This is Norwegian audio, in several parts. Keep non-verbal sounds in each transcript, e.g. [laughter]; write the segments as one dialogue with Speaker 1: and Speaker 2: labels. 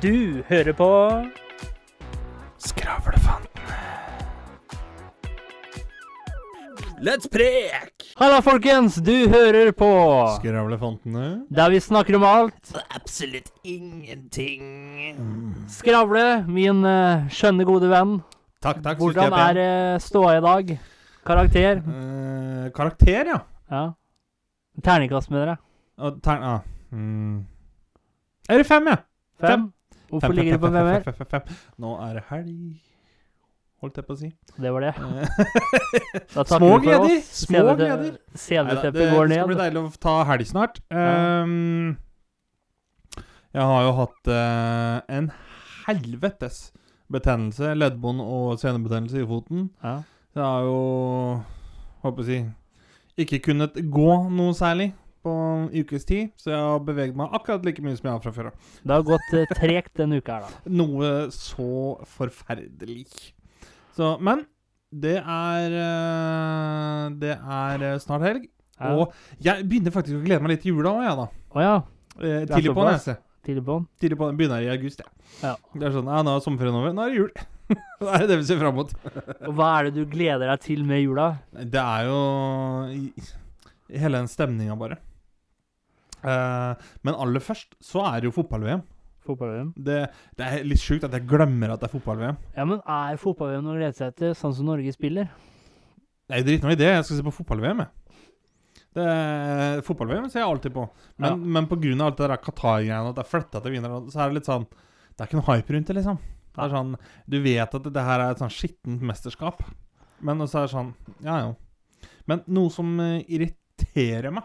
Speaker 1: Du hører på
Speaker 2: Skravlefantene. Let's prek!
Speaker 1: Halla, folkens! Du hører på
Speaker 3: Skravlefantene.
Speaker 1: Der vi snakker om alt.
Speaker 2: Absolutt ingenting.
Speaker 1: Skravle, min eh, skjønne, gode venn.
Speaker 3: Takk, takk. synes
Speaker 1: Hvordan
Speaker 3: jeg
Speaker 1: er
Speaker 3: er
Speaker 1: eh, ståa i dag? Karakter?
Speaker 3: pen. Eh, karakter, ja.
Speaker 1: Ja. Terningkast med dere.
Speaker 3: Og tern... Ah. Mm. Er det fem, ja?
Speaker 1: Fem?
Speaker 3: Fem.
Speaker 1: Hvorfor
Speaker 3: Fem, fem,
Speaker 1: ligger det på
Speaker 3: fem,
Speaker 1: fem
Speaker 3: fem,
Speaker 1: mer?
Speaker 3: fem, fem, fem, fem. Nå er det helg, holdt jeg på å si.
Speaker 1: Det
Speaker 3: [laughs]
Speaker 1: var det.
Speaker 3: Eh,
Speaker 1: Da takker
Speaker 3: Små
Speaker 1: vi for
Speaker 3: gleder!
Speaker 1: oss.
Speaker 3: Små
Speaker 1: Senete-
Speaker 3: gleder. Neida, det
Speaker 1: Seneteppet går
Speaker 3: skal bli
Speaker 1: ned. altså.
Speaker 3: deilig å ta helg snart.
Speaker 1: Ja.
Speaker 3: Ehm, jeg har jo hatt eh, en helvetes betennelse, leddbånd og senebetennelse i foten.
Speaker 1: Ja.
Speaker 3: Så jeg har jo håper jeg å si ikke kunnet gå noe særlig på en ukes tid, så jeg har beveget meg akkurat like mye som jeg har fra før av.
Speaker 1: Det har gått eh, tregt denne uka her, da.
Speaker 3: Noe så forferdelig. Så, men det er eh, Det er eh, snart helg.
Speaker 1: Ja. Å
Speaker 3: Og jeg begynner faktisk å glede meg litt til jula òg, jeg, da.
Speaker 1: ja.
Speaker 3: Eh,
Speaker 1: Det er
Speaker 3: tidlig på
Speaker 1: såpass.
Speaker 3: nese.
Speaker 1: Tidlig på'n.
Speaker 3: Tidlig på Begynner i august, jeg.
Speaker 1: Ja.
Speaker 3: Det er sånn Ja, nå er sommerferien over. Nå er det jul. [laughs] det er det vi ser fram mot.
Speaker 1: Og hva er det du gleder deg til med jula?
Speaker 3: Det er jo i- i hele den stemninga, bare. Eh, men aller først så er det jo fotball-VM.
Speaker 1: Fotball-VM?
Speaker 3: Det, det er litt sjukt at jeg glemmer at det er fotball-VM.
Speaker 1: Ja, men er fotball-VM noe å glede seg til, sånn som Norge spiller?
Speaker 3: Nei, drit nå i det. Jeg skal se på fotball-VM, jeg. Det- Fotball-VM ser jeg alltid på. Men,
Speaker 1: Ja.
Speaker 3: men på grunn av alt det der Qatar-greiene, at det er flytta til Wienerland, så er det litt sånn Det er ikke noe hype rundt det, liksom. Det er sånn Du vet at det her er et sånn skittent mesterskap, men også er det sånn Ja, jo. Men noe som eh, irriterer meg,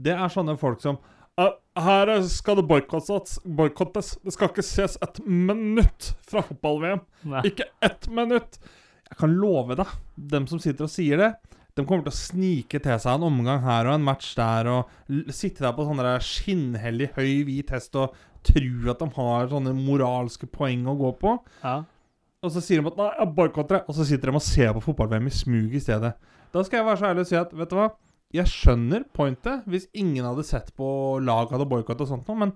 Speaker 3: det er sånne folk som «Ja, her skal det boikottes. boikottes. Det skal ikke ses et minutt fra fotball-VM. [laughs]
Speaker 1: Nei.
Speaker 3: Ikke ett minutt! Jeg kan love deg, dem som sitter og sier det, de kommer til å snike til seg en omgang her og en match der, og l- sitte der på sånn der skinnhellig høy hvit hest og tro at de har sånne moralske poeng å gå på.
Speaker 1: Ja.
Speaker 3: Og så sier de at 'nei, jeg boikotter det', og så sitter de og ser på fotball-VM i smug i stedet. Da skal jeg være så ærlig og si at vet du hva, jeg skjønner pointet hvis ingen hadde sett på lag hadde boikott og sånt noe, men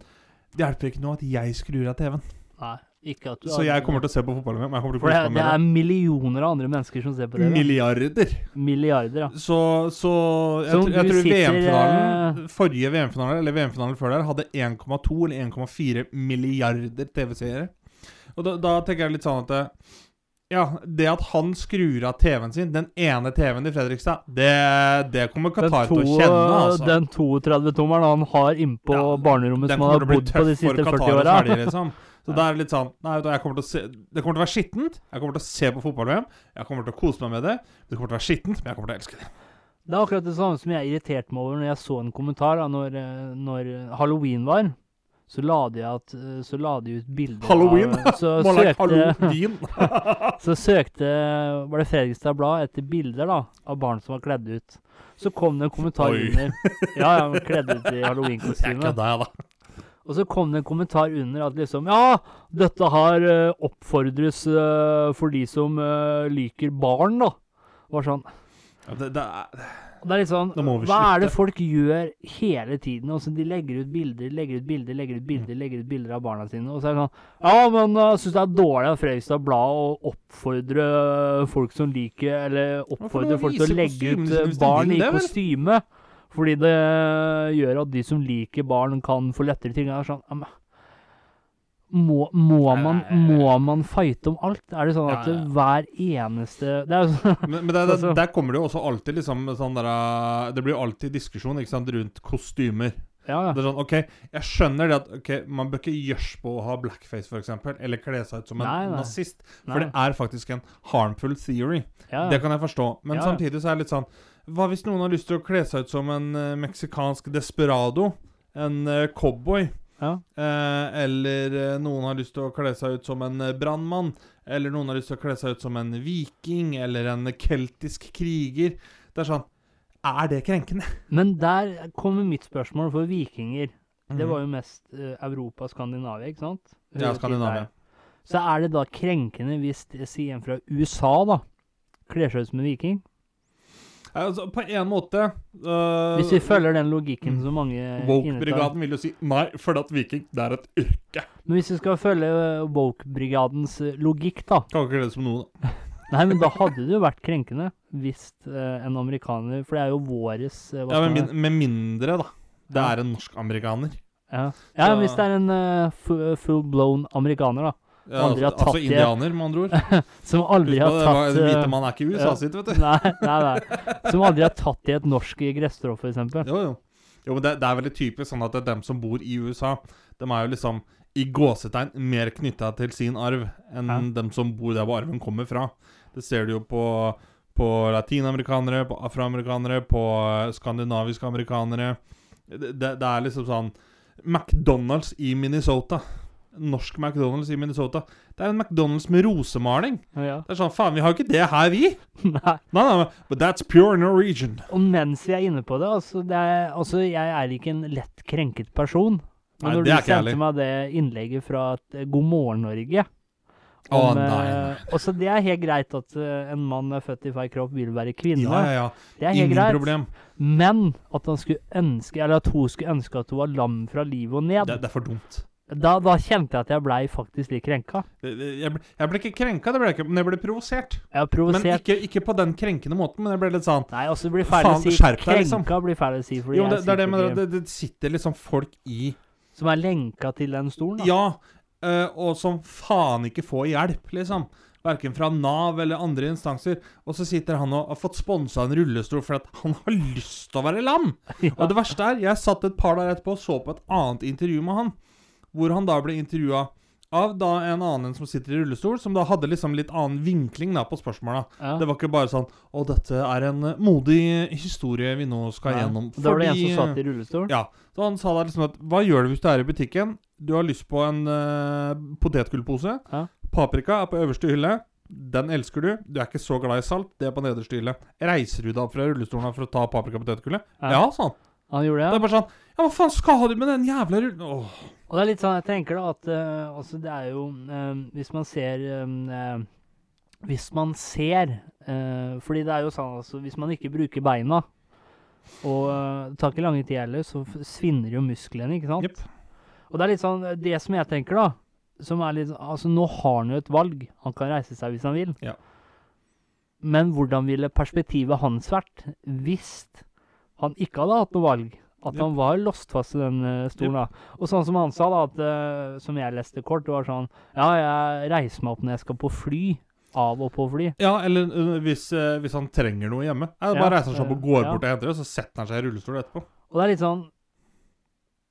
Speaker 3: det hjelper ikke noe at jeg skrur av TV-en.
Speaker 1: Nei. Ikke at du
Speaker 3: Så jeg kommer til å se på fotball-VM. og Jeg kommer til å
Speaker 1: For det,
Speaker 3: kose meg
Speaker 1: det er
Speaker 3: med
Speaker 1: millioner av andre mennesker som ser på det.
Speaker 3: det.
Speaker 1: da.
Speaker 3: Milliarder.
Speaker 1: Milliarder, ja.
Speaker 3: Så, så jeg,
Speaker 1: Så om
Speaker 3: tror- jeg
Speaker 1: du
Speaker 3: tror
Speaker 1: sitter, eh,
Speaker 3: VM-finalen Forrige VM-finale, eller VM-finalen før der, hadde 1,2 eller 1,4 milliarder TV-seere. Og da, da tenker jeg litt sånn at eh, Ja, det at han skrur av TV-en sin, den ene TV-en i Fredrikstad, det, det kommer Qatar til å kjenne, altså.
Speaker 1: den 32-tommeren han har innpå
Speaker 3: Ja,
Speaker 1: barnerommet
Speaker 3: Den
Speaker 1: som han
Speaker 3: kommer
Speaker 1: har
Speaker 3: til å bli
Speaker 1: bodd på
Speaker 3: tøff
Speaker 1: de
Speaker 3: for
Speaker 1: siste 40
Speaker 3: Qatar og
Speaker 1: åra.
Speaker 3: ferdig, liksom. Så
Speaker 1: Ja.
Speaker 3: det er litt sånn Nei, vet du, jeg kommer til å se, det kommer til å være skittent. Jeg kommer til å se på fotball-VM. Jeg kommer til å kose meg med det. Det kommer til å være skittent, men jeg kommer til å elske det.
Speaker 1: [laughs] Det er akkurat det samme som jeg irriterte meg over når jeg så en kommentar da når, eh, når halloween var. Så la de, at, eh, så la de ut bilder
Speaker 3: Halloween?
Speaker 1: av Så
Speaker 3: [laughs] Må lage
Speaker 1: søkte, [laughs]
Speaker 3: halloween.
Speaker 1: så søkte Var det Fredrikstad Blad etter bilder da av barn som var kledd ut. Så kom det en kommentar
Speaker 3: Oi.
Speaker 1: under.
Speaker 3: [laughs]
Speaker 1: Ja, ja, kledd ut i
Speaker 3: Det er
Speaker 1: halloweenkostyme.
Speaker 3: ikke deg, da.
Speaker 1: Og så kom det en kommentar under at liksom Ja, dette her eh, oppfordres eh, for de som eh, liker barn, da. Det var sånn.
Speaker 3: Ja, det, det er,
Speaker 1: Og det er litt sånn
Speaker 3: Da må vi
Speaker 1: Hva er det
Speaker 3: slutte.
Speaker 1: folk gjør hele tiden? Altså, de legger ut bilder, legger ut bilder, legger ut bilder legger ut bilder av barna sine. Og så er det sånn Ja, men jeg syns det er dårlig av Fredrikstad Blad å oppfordre folk som liker Eller
Speaker 3: må
Speaker 1: oppfordre
Speaker 3: de
Speaker 1: folk til
Speaker 3: vise
Speaker 1: å legge
Speaker 3: kostymen
Speaker 1: ut
Speaker 3: sin
Speaker 1: eh,
Speaker 3: hvis de
Speaker 1: barn
Speaker 3: vil
Speaker 1: i
Speaker 3: det, vel?
Speaker 1: kostyme. Fordi det gjør at de som liker barn, kan få lettere ting. Det er sånn ja, men må, må, man, må man fighte om alt? Er det sånn at
Speaker 3: Ja, ja, ja.
Speaker 1: hver eneste Det er jo sånn [laughs]
Speaker 3: men men det, det,
Speaker 1: Altså-
Speaker 3: der kommer det jo også alltid liksom sånn der eh, Det blir jo alltid diskusjon ikke sant, rundt kostymer.
Speaker 1: Ja, ja.
Speaker 3: Det er sånn, ok, Jeg skjønner det at ok, man bør ikke gjørs på å ha blackface, for eksempel, eller kle seg ut som en
Speaker 1: Nei, nei.
Speaker 3: nazist. For
Speaker 1: Nei,
Speaker 3: det er faktisk en harmful theory.
Speaker 1: ja,
Speaker 3: Det kan jeg forstå. Men
Speaker 1: Ja, ja.
Speaker 3: samtidig så er det litt sånn Hva hvis noen har lyst til å kle seg ut som en eh, meksikansk desperado? En eh, cowboy?
Speaker 1: Ja.
Speaker 3: Eh, eller eh, noen har lyst til å kle seg ut som en eh, brannmann? Eller noen har lyst til å kle seg ut som en viking? Eller en keltisk kriger? Det er sånn Er det krenkende?
Speaker 1: Men der kommer mitt spørsmål for vikinger. Mm. Det var jo mest eh, Europa, Skandinavia, ikke sant?
Speaker 3: Mhm. Ja,
Speaker 1: Hører til
Speaker 3: Skandinavia.
Speaker 1: der. Så er det da krenkende hvis det- si en fra USA, da, kler seg ut som en viking?
Speaker 3: Altså, på en måte øh, mm.
Speaker 1: Hvis vi følger den logikken som mange
Speaker 3: Woke-brigaden vil jo si nei, for at viking det er et yrke.
Speaker 1: Men hvis vi skal følge eh, Woke-brigadens eh, logikk, da
Speaker 3: Kan ikke det som noe, da.
Speaker 1: Nei, men da hadde det jo vært krenkende hvis eh, en amerikaner For det er jo våres eh, hva
Speaker 3: Ja,
Speaker 1: skal
Speaker 3: men
Speaker 1: man-
Speaker 3: min, Med mindre, da. Det er en norsk-amerikaner.
Speaker 1: ja. ja,
Speaker 3: så-
Speaker 1: men hvis det er en eh, fu- full-blown amerikaner, da.
Speaker 3: Ja,
Speaker 1: Aldri har
Speaker 3: altså- altså
Speaker 1: tatt det.
Speaker 3: indianer, med andre ord.
Speaker 1: Som
Speaker 3: Husk
Speaker 1: aldri
Speaker 3: på
Speaker 1: har
Speaker 3: det,
Speaker 1: tatt
Speaker 3: det var-
Speaker 1: eh,
Speaker 3: hvite mann er ikke i USA
Speaker 1: ja.
Speaker 3: sitt, vet du.
Speaker 1: Nei, nei, nei. Som aldri har tatt i et norsk gresstrå, for eksempel.
Speaker 3: Jo, jo. jo men det, det er veldig typisk sånn at det er dem som bor i USA, de er jo liksom i gåsetegn mer knytta til sin arv enn
Speaker 1: Ja.
Speaker 3: dem som bor der hvor arven kommer fra. Det ser du jo på, på latinamerikanere, på afroamerikanere, på eh, skandinaviske amerikanere. Det, det, det er liksom sånn McDonald's i Minnesota. Norsk McDonald's i Minnesota. Det er en McDonald's med rosemaling.
Speaker 1: Ja.
Speaker 3: Det er sånn, faen, vi har jo ikke det her, vi!
Speaker 1: Nei.
Speaker 3: Nei, nei, men- but that's pure Norwegian.
Speaker 1: Og mens vi er inne på det, altså, det er, altså Jeg er ikke en lett krenket person. Men
Speaker 3: Nei,
Speaker 1: når
Speaker 3: det
Speaker 1: du
Speaker 3: er ikke jeg
Speaker 1: sendte meg det innlegget fra et eh, God morgen, Norge
Speaker 3: Å,
Speaker 1: om,
Speaker 3: nei,
Speaker 1: eh,
Speaker 3: nei.
Speaker 1: Også det er helt greit at eh, en mann er født i feil kropp vil være kvinne.
Speaker 3: Ja, ja, ja.
Speaker 1: Det er helt
Speaker 3: Ingen
Speaker 1: greit.
Speaker 3: problem.
Speaker 1: Men at han skulle ønske Eller at hun skulle ønske at hun var lam fra livet og ned.
Speaker 3: Det, det er for dumt.
Speaker 1: Da, da kjente jeg at jeg blei faktisk litt krenka.
Speaker 3: Det- det- Jeg ble, jeg ble ikke krenka, det ble jeg ikke, men jeg ble provosert.
Speaker 1: Jeg er
Speaker 3: Men
Speaker 1: provosert.
Speaker 3: ikke, ikke på den krenkende måten, men jeg ble litt sånn
Speaker 1: Nei, altså det blir feil å
Speaker 3: Faen,
Speaker 1: si
Speaker 3: skjerp deg,
Speaker 1: krenka
Speaker 3: liksom.
Speaker 1: blir feil å si, fordi
Speaker 3: Jo, men det,
Speaker 1: jeg
Speaker 3: det er det
Speaker 1: sitter
Speaker 3: med det, det sitter liksom folk i
Speaker 1: i- Som er lenka til den stolen, da.
Speaker 3: Ja, eh, og som faen ikke får hjelp, liksom. Verken fra Nav eller andre instanser. Og så sitter han og har fått sponsa en rullestol fordi at han har lyst til å være lam! Og det verste er, jeg satt et par der etterpå og så på et annet intervju med han, hvor han da ble intervjua av da en annen som sitter i rullestol, som da hadde liksom litt annen vinkling da på spørsmåla.
Speaker 1: Ja.
Speaker 3: Det var ikke bare sånn Å, dette er en eh, modig historie vi nå skal
Speaker 1: Nei.
Speaker 3: gjennom.
Speaker 1: Da var det en som satt i rullestol.
Speaker 3: Ja. Så han sa da liksom at Hva gjør du hvis du er i butikken? Du har lyst på en eh, potetgullpose.
Speaker 1: Ja.
Speaker 3: Paprika er på øverste hylle. Den elsker du. Du er ikke så glad i salt. Det er på nederste hylle. Reiser du deg opp fra rullestolen for å ta paprika og potetgullet?
Speaker 1: Ja.
Speaker 3: Ja, sa han.
Speaker 1: Han gjorde
Speaker 3: Det
Speaker 1: det.
Speaker 3: er bare sånn Ja, hva faen skal du med den jævla rullen... Åh.
Speaker 1: Og det er litt sånn, jeg tenker da at eh, altså det er jo eh, Hvis man ser eh, eh, Hvis man ser eh, Fordi det er jo sånn, altså Hvis man ikke bruker beina Og eh, det tar ikke lange tid heller, så f- svinner jo musklene, ikke sant?
Speaker 3: Jepp.
Speaker 1: Og det er litt sånn Det som jeg tenker, da Som er litt sånn Altså, nå har han jo et valg. Han kan reise seg hvis han vil.
Speaker 3: Ja.
Speaker 1: Men hvordan ville perspektivet hans vært hvis han ikke hadde hatt noe valg? At
Speaker 3: Jepp.
Speaker 1: han var låst fast i den eh, stolen, da. Og sånn som han sa, da, at, eh, som jeg leste kort, det var sånn Ja, jeg reiser meg opp når jeg skal på fly. Av og på fly.
Speaker 3: Ja, eller eh, hvis, eh, hvis han trenger noe hjemme. Ja,
Speaker 1: Ja,
Speaker 3: bare reiser han seg opp og går
Speaker 1: ja.
Speaker 3: bort og henter det, og så setter han seg i rullestol etterpå.
Speaker 1: Og det er litt sånn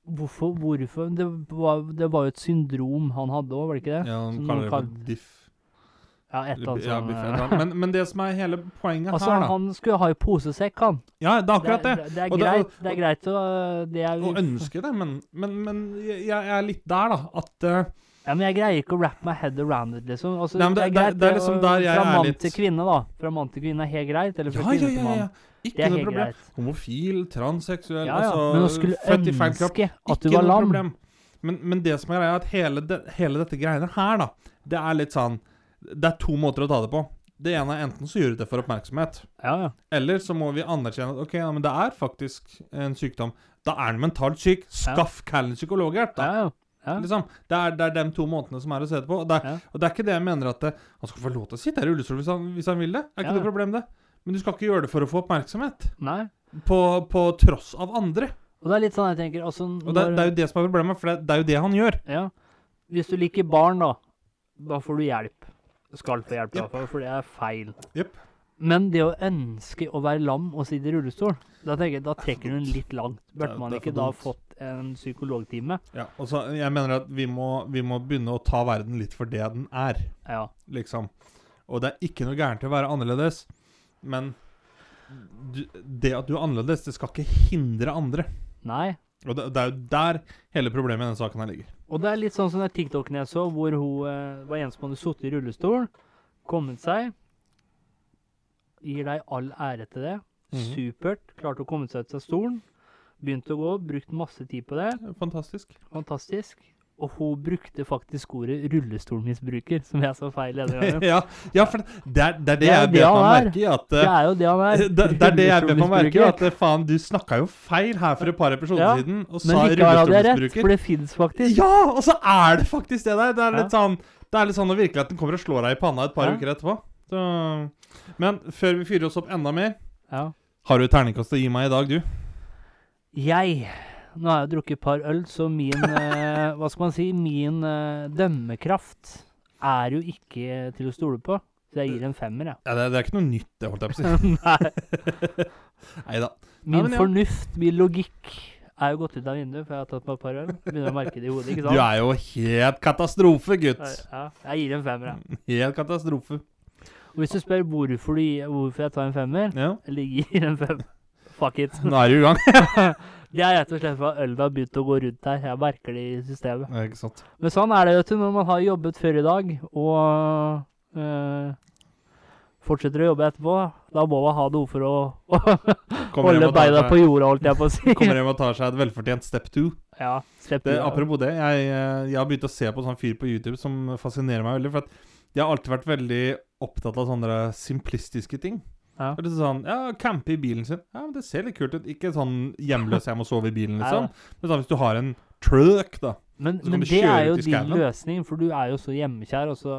Speaker 1: Hvorfor? hvorfor? Det, var, det var jo et syndrom han hadde òg, var det ikke det?
Speaker 3: Ja, han
Speaker 1: Som
Speaker 3: kaller
Speaker 1: han
Speaker 3: det for diff.
Speaker 1: Ja, et eller
Speaker 3: Eller,
Speaker 1: annet
Speaker 3: bi- ja,
Speaker 1: sånn,
Speaker 3: biff, et
Speaker 1: eh,
Speaker 3: eller annet. men, men det som er hele poenget
Speaker 1: Altså,
Speaker 3: her, da
Speaker 1: han skulle ha i posesekk, han.
Speaker 3: Ja, det er akkurat det.
Speaker 1: Det, det, er
Speaker 3: Og det-
Speaker 1: greit,
Speaker 3: og-
Speaker 1: det er greit å det er,
Speaker 3: Å ønske det, men, men, men jeg, jeg er litt der, da. At eh,
Speaker 1: Ja, men jeg greier ikke å wrap my head around it, liksom. Altså,
Speaker 3: Nei, men
Speaker 1: det,
Speaker 3: det-
Speaker 1: er greit,
Speaker 3: det- det er liksom
Speaker 1: å-
Speaker 3: der jeg
Speaker 1: Fra
Speaker 3: er
Speaker 1: mann
Speaker 3: litt-
Speaker 1: til kvinne, da. Fra mann til kvinne er helt greit, eller fra
Speaker 3: Ja, ja,
Speaker 1: kvinne til
Speaker 3: ja.
Speaker 1: mann.
Speaker 3: ja.
Speaker 1: Det
Speaker 3: Ikke
Speaker 1: er
Speaker 3: noe
Speaker 1: helt
Speaker 3: problem.
Speaker 1: greit.
Speaker 3: Homofil, transseksuell,
Speaker 1: Ja, ja. Men å
Speaker 3: altså
Speaker 1: skulle
Speaker 3: født i feil kropp.
Speaker 1: ønske at du
Speaker 3: Ikke
Speaker 1: var
Speaker 3: noe
Speaker 1: lam
Speaker 3: problem. Men, men det som er greia, er at hele, det, hele dette greiene her, da, det er litt sånn Det er to måter å ta det på. Det ene er enten så gjør du det for oppmerksomhet,
Speaker 1: Ja, ja.
Speaker 3: eller så må vi anerkjenne at ok, ja, men det er faktisk en sykdom. Da er den mentalt syk. Skaff kallen psykologhjelp, da.
Speaker 1: ja, ja. Ja.
Speaker 3: Liksom. Det, er, det er de to måtene som er å se det på. Og det, er-
Speaker 1: Ja.
Speaker 3: og det er ikke det jeg mener at det, han skal få lov til å sitte her i rullestol hvis han, hvis han vil det. Er ikke
Speaker 1: Ja, ja.
Speaker 3: noe problem, det. Men du skal ikke gjøre det for å få oppmerksomhet.
Speaker 1: Nei.
Speaker 3: På, på tross av andre.
Speaker 1: Og det er litt sånn jeg tenker altså,
Speaker 3: Og det,
Speaker 1: når-
Speaker 3: det er jo det som er problemet, for det, det er jo det han gjør.
Speaker 1: Ja. Hvis du liker barn, da, da får du hjelp. Skal få hjelp, i
Speaker 3: Jepp.
Speaker 1: hvert fall, for det er feil.
Speaker 3: Jepp.
Speaker 1: Men det å ønske å være lam og sitte i rullestol, da tenker jeg, da trekker du den litt langt.
Speaker 3: Det
Speaker 1: Burde
Speaker 3: er-
Speaker 1: man
Speaker 3: det er for
Speaker 1: ikke da
Speaker 3: dumt.
Speaker 1: fått en psykologtime?
Speaker 3: Ja, og så Jeg mener at vi må, vi må begynne å ta verden litt for det den er,
Speaker 1: Ja.
Speaker 3: liksom. Og det er ikke noe gærent i å være annerledes, men du, det at du er annerledes, det skal ikke hindre andre.
Speaker 1: Nei.
Speaker 3: Og det, det er jo der hele problemet i denne saken her ligger.
Speaker 1: Og det er litt sånn som den TikToken jeg så, hvor hun eh, var en som hadde sittet i rullestol, kommet seg Gir deg all ære til det.
Speaker 3: Mhm.
Speaker 1: Supert. Klarte å komme seg ut av stolen. Begynte å gå, brukt masse tid på det.
Speaker 3: Fantastisk.
Speaker 1: Fantastisk. Og hun brukte faktisk ordet rullestolmisbruker, som jeg sa feil denne
Speaker 3: [laughs]
Speaker 1: gangen.
Speaker 3: [laughs] ja, ja, for det er det, er det
Speaker 1: Ja,
Speaker 3: jeg
Speaker 1: det
Speaker 3: bet meg
Speaker 1: han er.
Speaker 3: merke i. At,
Speaker 1: Det
Speaker 3: eh, [laughs]
Speaker 1: er jo det han er.
Speaker 3: det, det er det jeg bet meg merke i.
Speaker 1: Rullestolmisbruker.
Speaker 3: At eh, faen, du snakka jo feil her for et par episoder
Speaker 1: Ja,
Speaker 3: siden og
Speaker 1: Men
Speaker 3: sa
Speaker 1: likevel hadde jeg rett,
Speaker 3: rullestolmisbruker.
Speaker 1: for det fins faktisk.
Speaker 3: Ja, og så er det faktisk det der. Det er
Speaker 1: Ja.
Speaker 3: litt sånn Det er litt sånn når virkeligheten kommer og slår deg i panna et par
Speaker 1: Ja.
Speaker 3: uker etterpå. Så, men før vi fyrer oss opp enda mer,
Speaker 1: Ja.
Speaker 3: har du et terningkast å gi meg i dag, du?
Speaker 1: Jeg Nå har jeg drukket et par øl, så min
Speaker 3: [laughs]
Speaker 1: eh, Hva skal man si? Min eh, dømmekraft er jo ikke til å stole på. Så jeg gir en femmer, jeg.
Speaker 3: Ja, det, det er ikke noe nytt, det holdt jeg på å si.
Speaker 1: Nei.
Speaker 3: [laughs] Nei da.
Speaker 1: Min
Speaker 3: men ja.
Speaker 1: fornuft, min logikk, er jo gått ut av vinduet, for jeg har tatt meg et par øl. Begynner å merke det i hodet, ikke
Speaker 3: Du
Speaker 1: sant?
Speaker 3: er jo helt katastrofe, gutt.
Speaker 1: Ja, jeg gir en femmer,
Speaker 3: Mm.
Speaker 1: jeg.
Speaker 3: Helt katastrofe.
Speaker 1: Og hvis du spør hvorfor, du, hvorfor jeg tar en femmer,
Speaker 3: Ja.
Speaker 1: eller gir en femmer Fuck it.
Speaker 3: Nå er du i gang. [laughs]
Speaker 1: Det er rett og slett for at ølet har begynt å gå rundt her. Jeg merker det i systemet.
Speaker 3: Ja, Ikke sant.
Speaker 1: Men sånn er det, vet du, når man har jobbet før i dag, og eh, fortsetter å jobbe etterpå. Da må man ha noe for å [laughs]
Speaker 3: Kommer hjem
Speaker 1: holde
Speaker 3: og tar
Speaker 1: beina
Speaker 3: seg-
Speaker 1: på jorda, holdt jeg på å si.
Speaker 3: Kommer hjem og tar seg et velfortjent step two.
Speaker 1: [laughs] Ja, step
Speaker 3: Det,
Speaker 1: to, ja.
Speaker 3: apropos det, jeg, eh, jeg har begynt å se på sånn fyr på YouTube som fascinerer meg veldig. For at jeg har alltid vært veldig opptatt av sånne der simplistiske ting.
Speaker 1: Ja.
Speaker 3: Det er litt sånn, ja, Campe i bilen sin. Ja, men Det ser litt kult ut. Ikke sånn hjemløs, jeg må sove i bilen,
Speaker 1: Nei,
Speaker 3: liksom. Men sånn, hvis du har en truck, da.
Speaker 1: Men,
Speaker 3: Så kan
Speaker 1: men
Speaker 3: du
Speaker 1: det
Speaker 3: kjøre
Speaker 1: er jo
Speaker 3: ut i
Speaker 1: din
Speaker 3: skauen.
Speaker 1: løsning, for du er jo så hjemmekjær. Og så,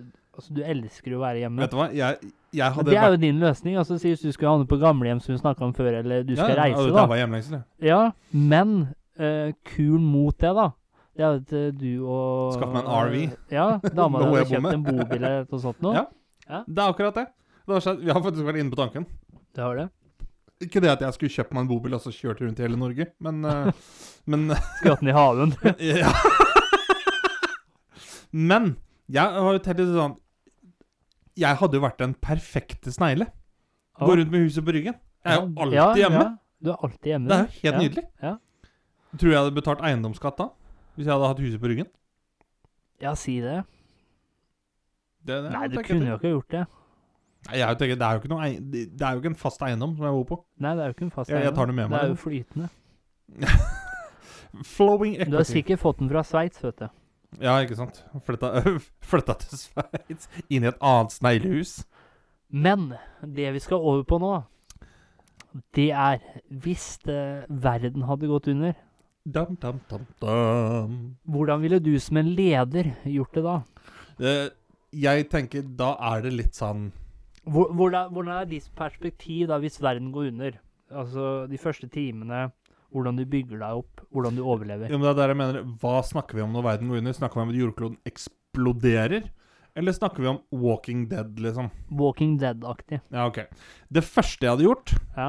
Speaker 1: altså, du elsker jo å være hjemme.
Speaker 3: Vet du hva, jeg, jeg
Speaker 1: Men
Speaker 3: hadde
Speaker 1: det er jo din løsning. altså si Hvis du skal havne på gamlehjem, som vi snakka om før, eller du skal reise,
Speaker 3: da.
Speaker 1: da.
Speaker 3: var hjemlengsel, jeg.
Speaker 1: Ja, men eh, kuren mot det, da. Det er jo at eh, du og
Speaker 3: Skaffe meg en RV.
Speaker 1: Ja. Dama
Speaker 3: [laughs]
Speaker 1: di
Speaker 3: Nå må
Speaker 1: hadde
Speaker 3: jeg
Speaker 1: kjøpt
Speaker 3: bomme.
Speaker 1: en bobil eller noe sånt nå.
Speaker 3: Ja. Det er akkurat det. det har skjedd. Vi har faktisk vært inne på tanken.
Speaker 1: Du har det.
Speaker 3: Ikke det at jeg skulle kjøpt meg en bobil og så kjørt rundt i hele Norge, men, eh, [laughs] men
Speaker 1: Skratt den i hagen.
Speaker 3: [laughs] Ja. Men jeg har jo tenkt litt sånn Jeg hadde jo vært den perfekte snegle. Gå rundt med huset på ryggen. Jeg er jo alltid
Speaker 1: Ja, ja,
Speaker 3: hjemme.
Speaker 1: Du er alltid hjemme.
Speaker 3: Det er jo helt
Speaker 1: ja.
Speaker 3: nydelig.
Speaker 1: ja.
Speaker 3: Tror jeg hadde betalt eiendomsskatt da? Hvis jeg hadde hatt huset på ryggen?
Speaker 1: Ja, si det.
Speaker 3: Det, det,
Speaker 1: Nei,
Speaker 3: jeg
Speaker 1: du
Speaker 3: tenker
Speaker 1: kunne
Speaker 3: at-
Speaker 1: jo ikke ha gjort det.
Speaker 3: Nei, jeg tenker, det, er jo ikke noe, ei- det det er jo ikke en fast eiendom som jeg bor på.
Speaker 1: Nei, det er jo ikke en fast
Speaker 3: Jeg- jeg
Speaker 1: eiendom.
Speaker 3: tar det med meg,
Speaker 1: Det er
Speaker 3: det.
Speaker 1: jo
Speaker 3: [laughs]
Speaker 1: flytende.
Speaker 3: Flowing
Speaker 1: Du har
Speaker 3: equity.
Speaker 1: sikkert fått den fra Sveits, vet du.
Speaker 3: Ja, ikke sant. Flytta, [laughs] flytta til Sveits. Inn i et annet sneglehus.
Speaker 1: Men det vi skal over på nå, det er hvis eh, verden hadde gått under,
Speaker 3: Dam, dam, dam, dam.
Speaker 1: hvordan ville du som en leder gjort det da?
Speaker 3: Eh, jeg tenker da er det litt sånn
Speaker 1: Hvor- Hvordan, hvordan er ditt perspektiv da hvis verden går under? Altså de første timene, hvordan du bygger deg opp, hvordan du overlever.
Speaker 3: Jo, men det er der jeg mener, Hva snakker vi om når verden går under? Snakker vi om at jordkloden eksploderer? Eller snakker vi om Walking Dead, liksom?
Speaker 1: Walking Dead-aktig.
Speaker 3: Ja, ok. Det første jeg hadde gjort,
Speaker 1: Ja.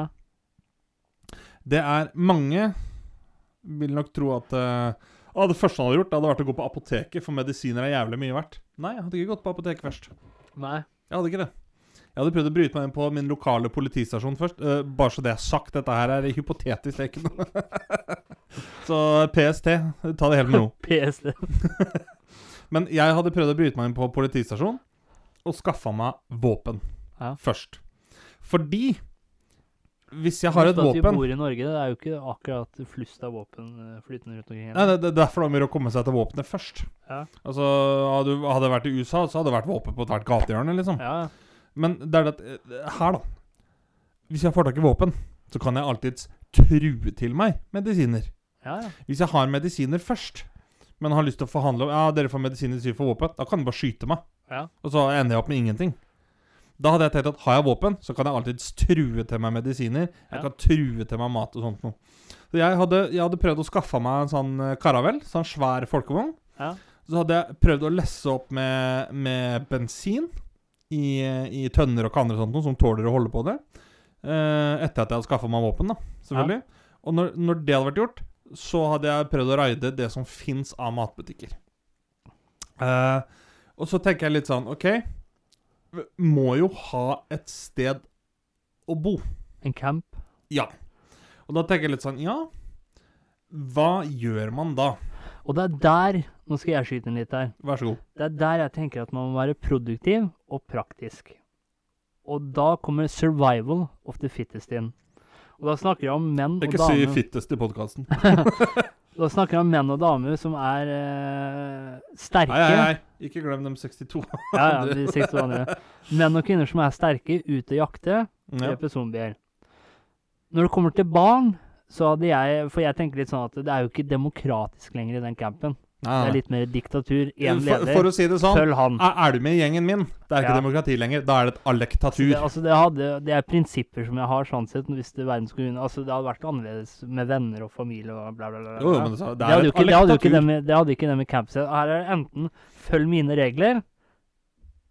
Speaker 3: det er Mange vil nok tro at eh, ah, Det første jeg hadde gjort, det hadde vært å gå på apoteket, for medisiner er jævlig mye verdt. Nei, jeg hadde ikke gått på apoteket først.
Speaker 1: Nei.
Speaker 3: Jeg hadde ikke det. Jeg hadde prøvd å bryte meg inn på min lokale politistasjon først. eh, bare så det er sagt, dette her er hypotetisk, det er ikke noe [laughs] Så PST, ta det helt med ro.
Speaker 1: PS.
Speaker 3: Men jeg hadde prøvd å bryte meg inn på politistasjon og skaffa meg våpen
Speaker 1: Ja.
Speaker 3: først. Fordi hvis jeg har et
Speaker 1: At vi
Speaker 3: våpen
Speaker 1: bor i Norge, det er jo ikke akkurat flust av våpen eh, flytende rundt omkring.
Speaker 3: Nei, det, det er derfor det er mulig å komme seg til våpenet først.
Speaker 1: Ja.
Speaker 3: Altså, hadde du- hadde jeg vært i USA, så hadde det vært våpen på hvert gatehjørne, liksom.
Speaker 1: Ja,
Speaker 3: Men det er det at eh, Her, da. Hvis jeg får tak i våpen, så kan jeg alltids true til meg medisiner.
Speaker 1: ja, ja.
Speaker 3: Hvis jeg har medisiner først, men har lyst til å forhandle om Ja, dere får medisiner syv for våpen, da kan du bare skyte meg.
Speaker 1: Ja.
Speaker 3: Og så ender jeg opp med ingenting. Da hadde jeg tenkt at har jeg våpen, så kan jeg alltids true til meg medisiner. Jeg
Speaker 1: Ja.
Speaker 3: kan true til meg mat og sånt noe. Så jeg hadde, jeg hadde prøvd å skaffe meg en sånn eh, karavell, sånn svær folkevogn.
Speaker 1: Ja.
Speaker 3: Så hadde jeg prøvd å lesse opp med, med bensin i, i tønner og kanner og sånt noe, som tåler å holde på det. Eh, etter at jeg hadde skaffa meg våpen, da, selvfølgelig. Og når, når det hadde vært gjort, så hadde jeg prøvd å raide det som fins av matbutikker. Eh, og så tenker jeg litt sånn OK, v- må jo ha et sted å bo.
Speaker 1: En camp.
Speaker 3: Og da tenker jeg litt sånn Ja, hva gjør man da?
Speaker 1: Og det er der Nå skal jeg skyte inn litt her.
Speaker 3: Vær så god.
Speaker 1: Det er der jeg tenker at man må være produktiv og praktisk. Og da kommer 'survival of the fittest' inn. Og da snakker jeg om menn og
Speaker 3: Ikke si
Speaker 1: damer.
Speaker 3: fittest i podkasten.
Speaker 1: Da snakker jeg om menn og damer som er eh, sterke.
Speaker 3: Hei, hei, hei. Ikke glem dem 62.
Speaker 1: Ja, ja, de seks andre. Menn og kvinner som er sterke, ut og jakte,
Speaker 3: Ja.
Speaker 1: drepe zombier. Når det kommer til barn, så hadde jeg For jeg tenker litt sånn at det er jo ikke demokratisk lenger i den campen. Det
Speaker 3: Nei,
Speaker 1: er
Speaker 3: nei.
Speaker 1: litt mer diktatur. Én
Speaker 3: For,
Speaker 1: leder,
Speaker 3: for å si det sånn,
Speaker 1: følg han.
Speaker 3: er, er du med i gjengen min? Det er ikke
Speaker 1: Ja.
Speaker 3: demokrati lenger. Da er det
Speaker 1: Det,
Speaker 3: et alektatur.
Speaker 1: altså, det, hadde, det er prinsipper som jeg har sånn sett, hvis det verden skulle begynne. Altså, det hadde vært annerledes med venner og familie og bla, bla, bla. bla.
Speaker 3: Jo, jo, men det,
Speaker 1: det,
Speaker 3: det er
Speaker 1: hadde jo
Speaker 3: et
Speaker 1: ikke, det, hadde jo ikke
Speaker 3: alektatur.
Speaker 1: dem, i- det hadde ikke dem i campset. Her er det enten følg mine regler,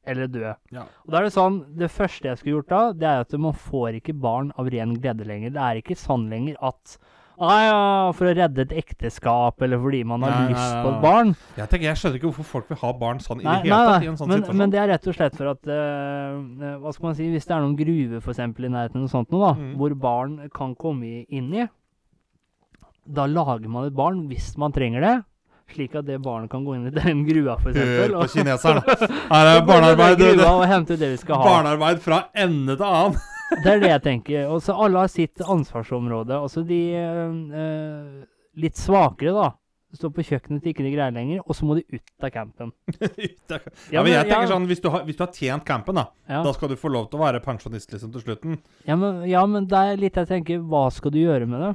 Speaker 1: eller dø.
Speaker 3: Ja.
Speaker 1: Og da er Det sånn, det første jeg skulle gjort da, det er at man får ikke barn av ren glede lenger. Det er ikke sånn lenger at Nei, ja, for å redde et ekteskap, eller fordi man har
Speaker 3: Nei, nei,
Speaker 1: lyst
Speaker 3: nei,
Speaker 1: på et
Speaker 3: nei.
Speaker 1: barn.
Speaker 3: Jeg tenker, jeg skjønner ikke hvorfor folk vil ha barn sånn i det
Speaker 1: Nei, nei,
Speaker 3: hele tatt. i
Speaker 1: nei.
Speaker 3: en sånn
Speaker 1: men,
Speaker 3: situasjon.
Speaker 1: men det er rett og slett for at eh, eh, Hva skal man si, hvis det er noen gruver for eksempel, i nærheten, og sånt noe, da,
Speaker 3: Mm.
Speaker 1: hvor barn kan komme i- inn i, da lager man et barn hvis man trenger det. Slik at det barnet kan gå inn i den grua, for
Speaker 3: Hør
Speaker 1: eksempel.
Speaker 3: på
Speaker 1: og- [laughs]
Speaker 3: kineseren. Her
Speaker 1: og gå inn i
Speaker 3: er
Speaker 1: den
Speaker 3: barnearbeid. det-
Speaker 1: grua
Speaker 3: det-
Speaker 1: Og hente ut det vi skal ha.
Speaker 3: Barnearbeid fra ende til annen. [laughs]
Speaker 1: Det er det jeg tenker. Og så alle har sitt ansvarsområde. Altså de eh, eh, litt svakere, da. Står på kjøkkenet til ikke de greier lenger, og så må de ut av campen.
Speaker 3: Ja, men
Speaker 1: ja,
Speaker 3: jeg tenker sånn, hvis du har, hvis du har tjent campen, da,
Speaker 1: ja.
Speaker 3: da skal du få lov til å være pensjonist liksom til slutten.
Speaker 1: Ja men, ja, men det er litt jeg tenker Hva skal du gjøre med det?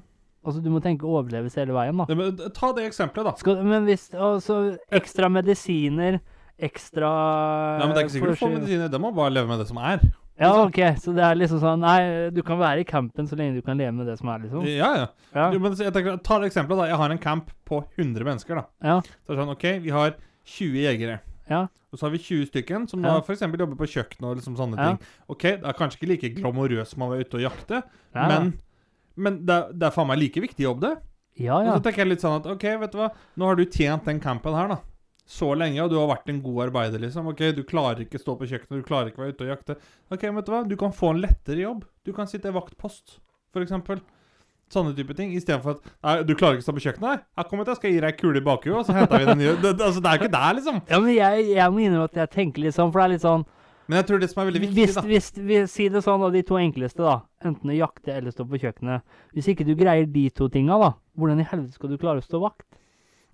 Speaker 1: Altså, du må tenke overlevelse hele veien, da.
Speaker 3: Ja, men Ta det eksempelet, da.
Speaker 1: Skal, men hvis Altså, ekstra medisiner, ekstra
Speaker 3: Nei, men Det er ikke sikkert du får
Speaker 1: forsy-
Speaker 3: medisiner. Det må bare leve med det som er.
Speaker 1: Ja, OK, så det er liksom sånn Nei, du kan være i campen så lenge du kan leve med det som er, liksom.
Speaker 3: Ja, ja.
Speaker 1: Ja.
Speaker 3: Jo, men jeg tenker, Ta det eksempelet, da. Jeg har en camp på 100 mennesker. da.
Speaker 1: Ja.
Speaker 3: Så er det sånn, OK, vi har 20 jegere.
Speaker 1: Ja.
Speaker 3: Og så har vi 20 stykken som da
Speaker 1: Ja.
Speaker 3: for eksempel jobber på kjøkkenet og liksom sånne
Speaker 1: Ja.
Speaker 3: ting. OK, det er kanskje ikke like glamorøst som å være ute og jakte,
Speaker 1: Ja,
Speaker 3: men, men det, er, det er faen meg like viktig jobb, det.
Speaker 1: ja,
Speaker 3: Og
Speaker 1: ja.
Speaker 3: så tenker jeg litt sånn at OK, vet du hva, nå har du tjent den campen her, da. Så lenge, og du har vært en god arbeider, liksom. OK, du klarer ikke stå på kjøkkenet, du klarer ikke være ute og jakte. OK, men vet du hva, du kan få en lettere jobb. Du kan sitte i vaktpost, for eksempel. Sånne type ting. Istedenfor at Nei, du klarer ikke stå på kjøkkenet? Nei, her kommer jeg, jeg skal gi deg ei kule i bakhuet, og så henter vi den nye. Det, det, altså, det er ikke der, liksom.
Speaker 1: Ja, men jeg, jeg må innrømme at jeg tenker litt sånn, for det er litt sånn
Speaker 3: Men jeg tror det som er veldig viktig,
Speaker 1: hvis,
Speaker 3: da
Speaker 1: hvis, vi- Si det sånn, da, de to enkleste, da. Enten å jakte eller stå på kjøkkenet. Hvis ikke du greier de to tinga, da, hvordan i helvete skal du klare å stå vakt?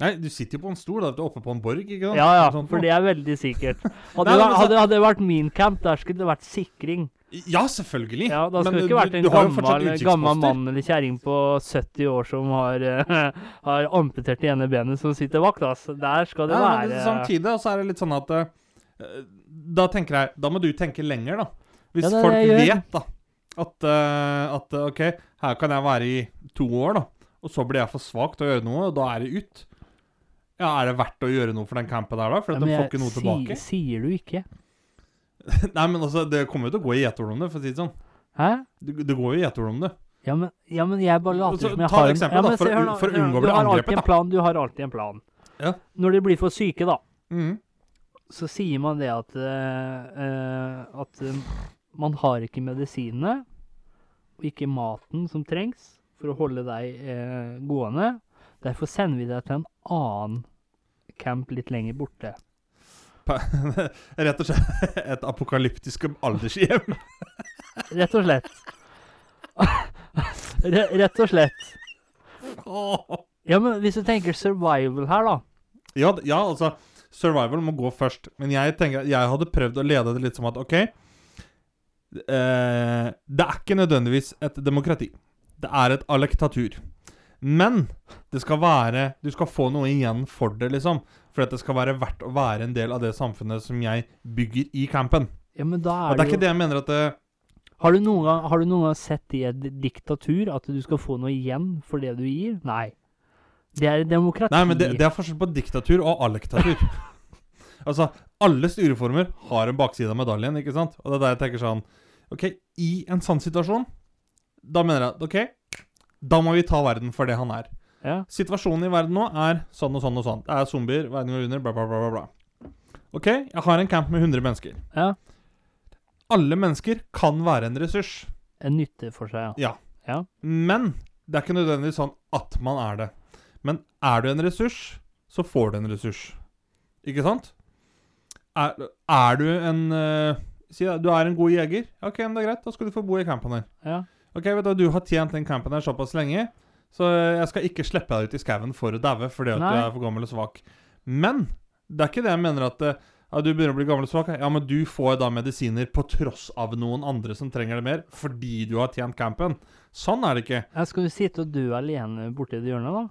Speaker 3: Nei, du sitter jo på en stol, da. Du er oppe på en borg, ikke sant?
Speaker 1: Ja, ja,
Speaker 3: Sånn-
Speaker 1: for det er veldig sikkert.
Speaker 3: [laughs]
Speaker 1: Hadde,
Speaker 3: Nei,
Speaker 1: det
Speaker 3: men
Speaker 1: vært-
Speaker 3: så-
Speaker 1: hadde, hadde det vært min camp, der skulle det vært sikring.
Speaker 3: Ja, selvfølgelig.
Speaker 1: Ja, Da
Speaker 3: Men
Speaker 1: skulle det
Speaker 3: du-
Speaker 1: ikke vært en
Speaker 3: du har jo fortsatt
Speaker 1: gammel, gammel
Speaker 3: utsiktsposter.
Speaker 1: mann eller kjerring på 70 år som har, eh, [laughs] har amputert det ene benet, som sitter vakt. ass. Der skal det
Speaker 3: Ja, men
Speaker 1: være
Speaker 3: Samtidig da, så er det litt sånn at eh, Da tenker jeg Da må du tenke lenger, da. Hvis
Speaker 1: Ja, det er
Speaker 3: folk
Speaker 1: det jeg gjør.
Speaker 3: vet, da, at, eh, at eh, OK, her kan jeg være i to år, da, og så blir jeg for svak til å gjøre noe, og da er det ut. Ja, Er det verdt å gjøre noe for den campen der, da? For
Speaker 1: Ja,
Speaker 3: at
Speaker 1: men
Speaker 3: de får
Speaker 1: jeg-
Speaker 3: ikke noe
Speaker 1: si-
Speaker 3: tilbake?
Speaker 1: Sier du ikke?
Speaker 3: [laughs] Nei, men altså, Det kommer jo til å gå i gjetord om det, for å si det sånn.
Speaker 1: Hæ?
Speaker 3: Det, det går jo i gjetord om det.
Speaker 1: Ja men, ja, men jeg bare later
Speaker 3: Så
Speaker 1: som jeg
Speaker 3: ta
Speaker 1: har
Speaker 3: et
Speaker 1: en-
Speaker 3: eksempel,
Speaker 1: ja,
Speaker 3: da,
Speaker 1: men
Speaker 3: for
Speaker 1: se
Speaker 3: å
Speaker 1: her
Speaker 3: un-
Speaker 1: nå,
Speaker 3: for å
Speaker 1: hør nå,
Speaker 3: unngå å
Speaker 1: du
Speaker 3: bli
Speaker 1: har alltid
Speaker 3: angrepet,
Speaker 1: en
Speaker 3: da.
Speaker 1: plan, Du har alltid en plan.
Speaker 3: Ja.
Speaker 1: Når de blir for syke, da,
Speaker 3: Mhm.
Speaker 1: så sier man det at eh, eh, At eh, man har ikke medisinene og ikke maten som trengs for å holde deg eh, gående. Derfor sender vi deg til en annen camp litt lenger borte.
Speaker 3: Rett og slett [laughs] et apokalyptisk aldershjem. [laughs]
Speaker 1: Rett og slett. [laughs] Re rett og slett. Ja, men hvis du tenker survival her, da.
Speaker 3: Ja, d- ja, altså Survival må gå først. Men jeg tenker jeg hadde prøvd å lede det litt som at OK eh, Det er ikke nødvendigvis et demokrati. Det er et alektatur. Men det skal være Du skal få noe igjen for det, liksom. For at det skal være verdt å være en del av det samfunnet som jeg bygger i campen.
Speaker 1: Ja, men da er
Speaker 3: Og det
Speaker 1: det
Speaker 3: er
Speaker 1: jo
Speaker 3: ikke det jeg mener at det,
Speaker 1: Har du, noen gang, har du noen gang sett i et diktatur at du skal få noe igjen for det du gir? Nei. Det er demokrati.
Speaker 3: Nei, men det, det er forskjell på diktatur og alektatur. altså, alle styreformer har en bakside av medaljen, ikke sant? Og det er der jeg tenker sånn OK, i en sånn situasjon, da mener jeg at OK, da må vi ta verden for det han er.
Speaker 1: ja.
Speaker 3: Situasjonen i verden nå er sånn og sånn og sånn. Det er zombier, verden går under, bla, bla, bla, bla, bla. OK, jeg har en camp med 100 mennesker.
Speaker 1: ja.
Speaker 3: Alle mennesker kan være en ressurs.
Speaker 1: En nytte for seg, ja.
Speaker 3: Men det er ikke nødvendigvis sånn at man er det. Men er du en ressurs, så får du en ressurs. Ikke sant? Er, er du en eh, Si da, du er en god jeger. Ok, men det er greit. Da skal du få bo i campen her.
Speaker 1: ja.
Speaker 3: Ok, vet du, hva, du har tjent den campen her såpass lenge, Så eh, jeg skal ikke slippe deg ut i skauen for å daue fordi at du
Speaker 1: Nei.
Speaker 3: er for gammel og svak. Men det er ikke det jeg mener at eh, ja, du begynner å bli gammel og svak. Ja, men du får da medisiner på tross av noen andre som trenger det mer, fordi du har tjent campen. Sånn er det ikke.
Speaker 1: Ja, skal du sitte og dø alene borti det hjørnet, da?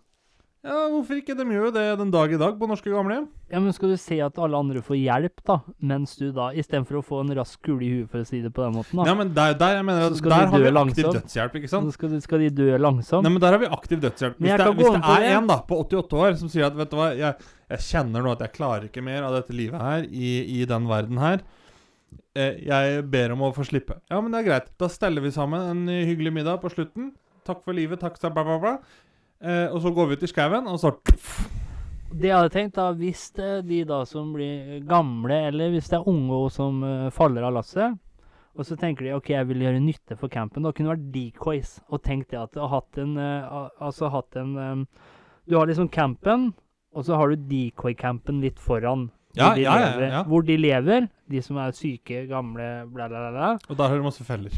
Speaker 3: Ja, hvorfor ikke? De gjør jo det den dag i dag på norske gamlehjem.
Speaker 1: Ja, men skal du se at alle andre får hjelp, da, mens du da, istedenfor å få en rask kule i huet, for å si det på den måten, da,
Speaker 3: Ja, men der, der, jeg mener,
Speaker 1: Så
Speaker 3: at
Speaker 1: skal
Speaker 3: der
Speaker 1: de dø
Speaker 3: har vi aktiv
Speaker 1: langsomt?
Speaker 3: dødshjelp, ikke sant?
Speaker 1: så skal, de- skal de dø langsomt?
Speaker 3: sånn- Nei, men der har vi aktiv dødshjelp.
Speaker 1: Men
Speaker 3: Hvis
Speaker 1: jeg
Speaker 3: det,
Speaker 1: kan gå
Speaker 3: hvis
Speaker 1: med
Speaker 3: det
Speaker 1: på
Speaker 3: er
Speaker 1: det.
Speaker 3: en da, på 88 år som sier at vet du hva, jeg, jeg kjenner nå at jeg klarer ikke mer av dette livet her, i, i den verden her. Eh, Jeg ber om å få slippe. Ja, men det er greit. Da steller vi sammen en eh, hyggelig middag på slutten. Takk for livet, takk sa bla, bla, bla. Eh, og så går vi ut i skauen, og så
Speaker 1: Det jeg hadde tenkt, da, hvis det er de da som blir gamle, eller hvis det er unge og som eh, faller av lasset, og så tenker de OK, jeg vil gjøre nytte for campen, da kunne det vært decoys. Og tenk det at du har hatt en eh, al- Altså hatt en eh, Du har liksom campen, og så har du decoy-campen litt foran. hvor
Speaker 3: Ja,
Speaker 1: de
Speaker 3: ja, ja,
Speaker 1: lever-
Speaker 3: ja.
Speaker 1: Hvor de lever, de som er syke, gamle, bla, bla, bla. bla.
Speaker 3: Og der har du masse feller.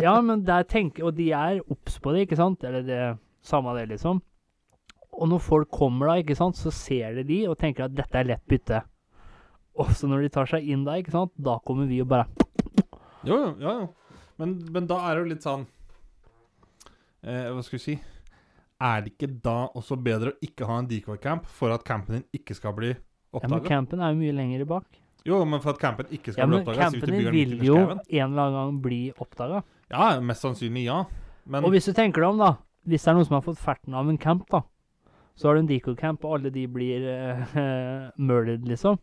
Speaker 1: Ja, men der tenker Og de er obs på det, ikke sant? Eller det samme det, liksom. Og når folk kommer da, ikke sant, så ser de de og tenker at dette er lett bytte. Og så når de tar seg inn da, ikke sant, da kommer vi og bare
Speaker 3: Jo, jo, jo. jo. Men, men da er det jo litt sånn eh, Hva skal vi si? Er det ikke da også bedre å ikke ha en decoy-camp for at campen din ikke skal bli
Speaker 1: Ja, men
Speaker 3: oppdaga?
Speaker 1: campen er jo mye lenger bak.
Speaker 3: Jo, men for at campen ikke skal
Speaker 1: Ja,
Speaker 3: bli
Speaker 1: men
Speaker 3: oppdaga.
Speaker 1: campen din vil jo en eller annen gang bli oppdaga.
Speaker 3: Ja, mest sannsynlig ja. Men
Speaker 1: Og hvis du tenker deg om, da. Hvis det er noen som har fått ferten av en camp, da. Så har du en deco-camp, og alle de blir eh, [laughs] murdered, liksom.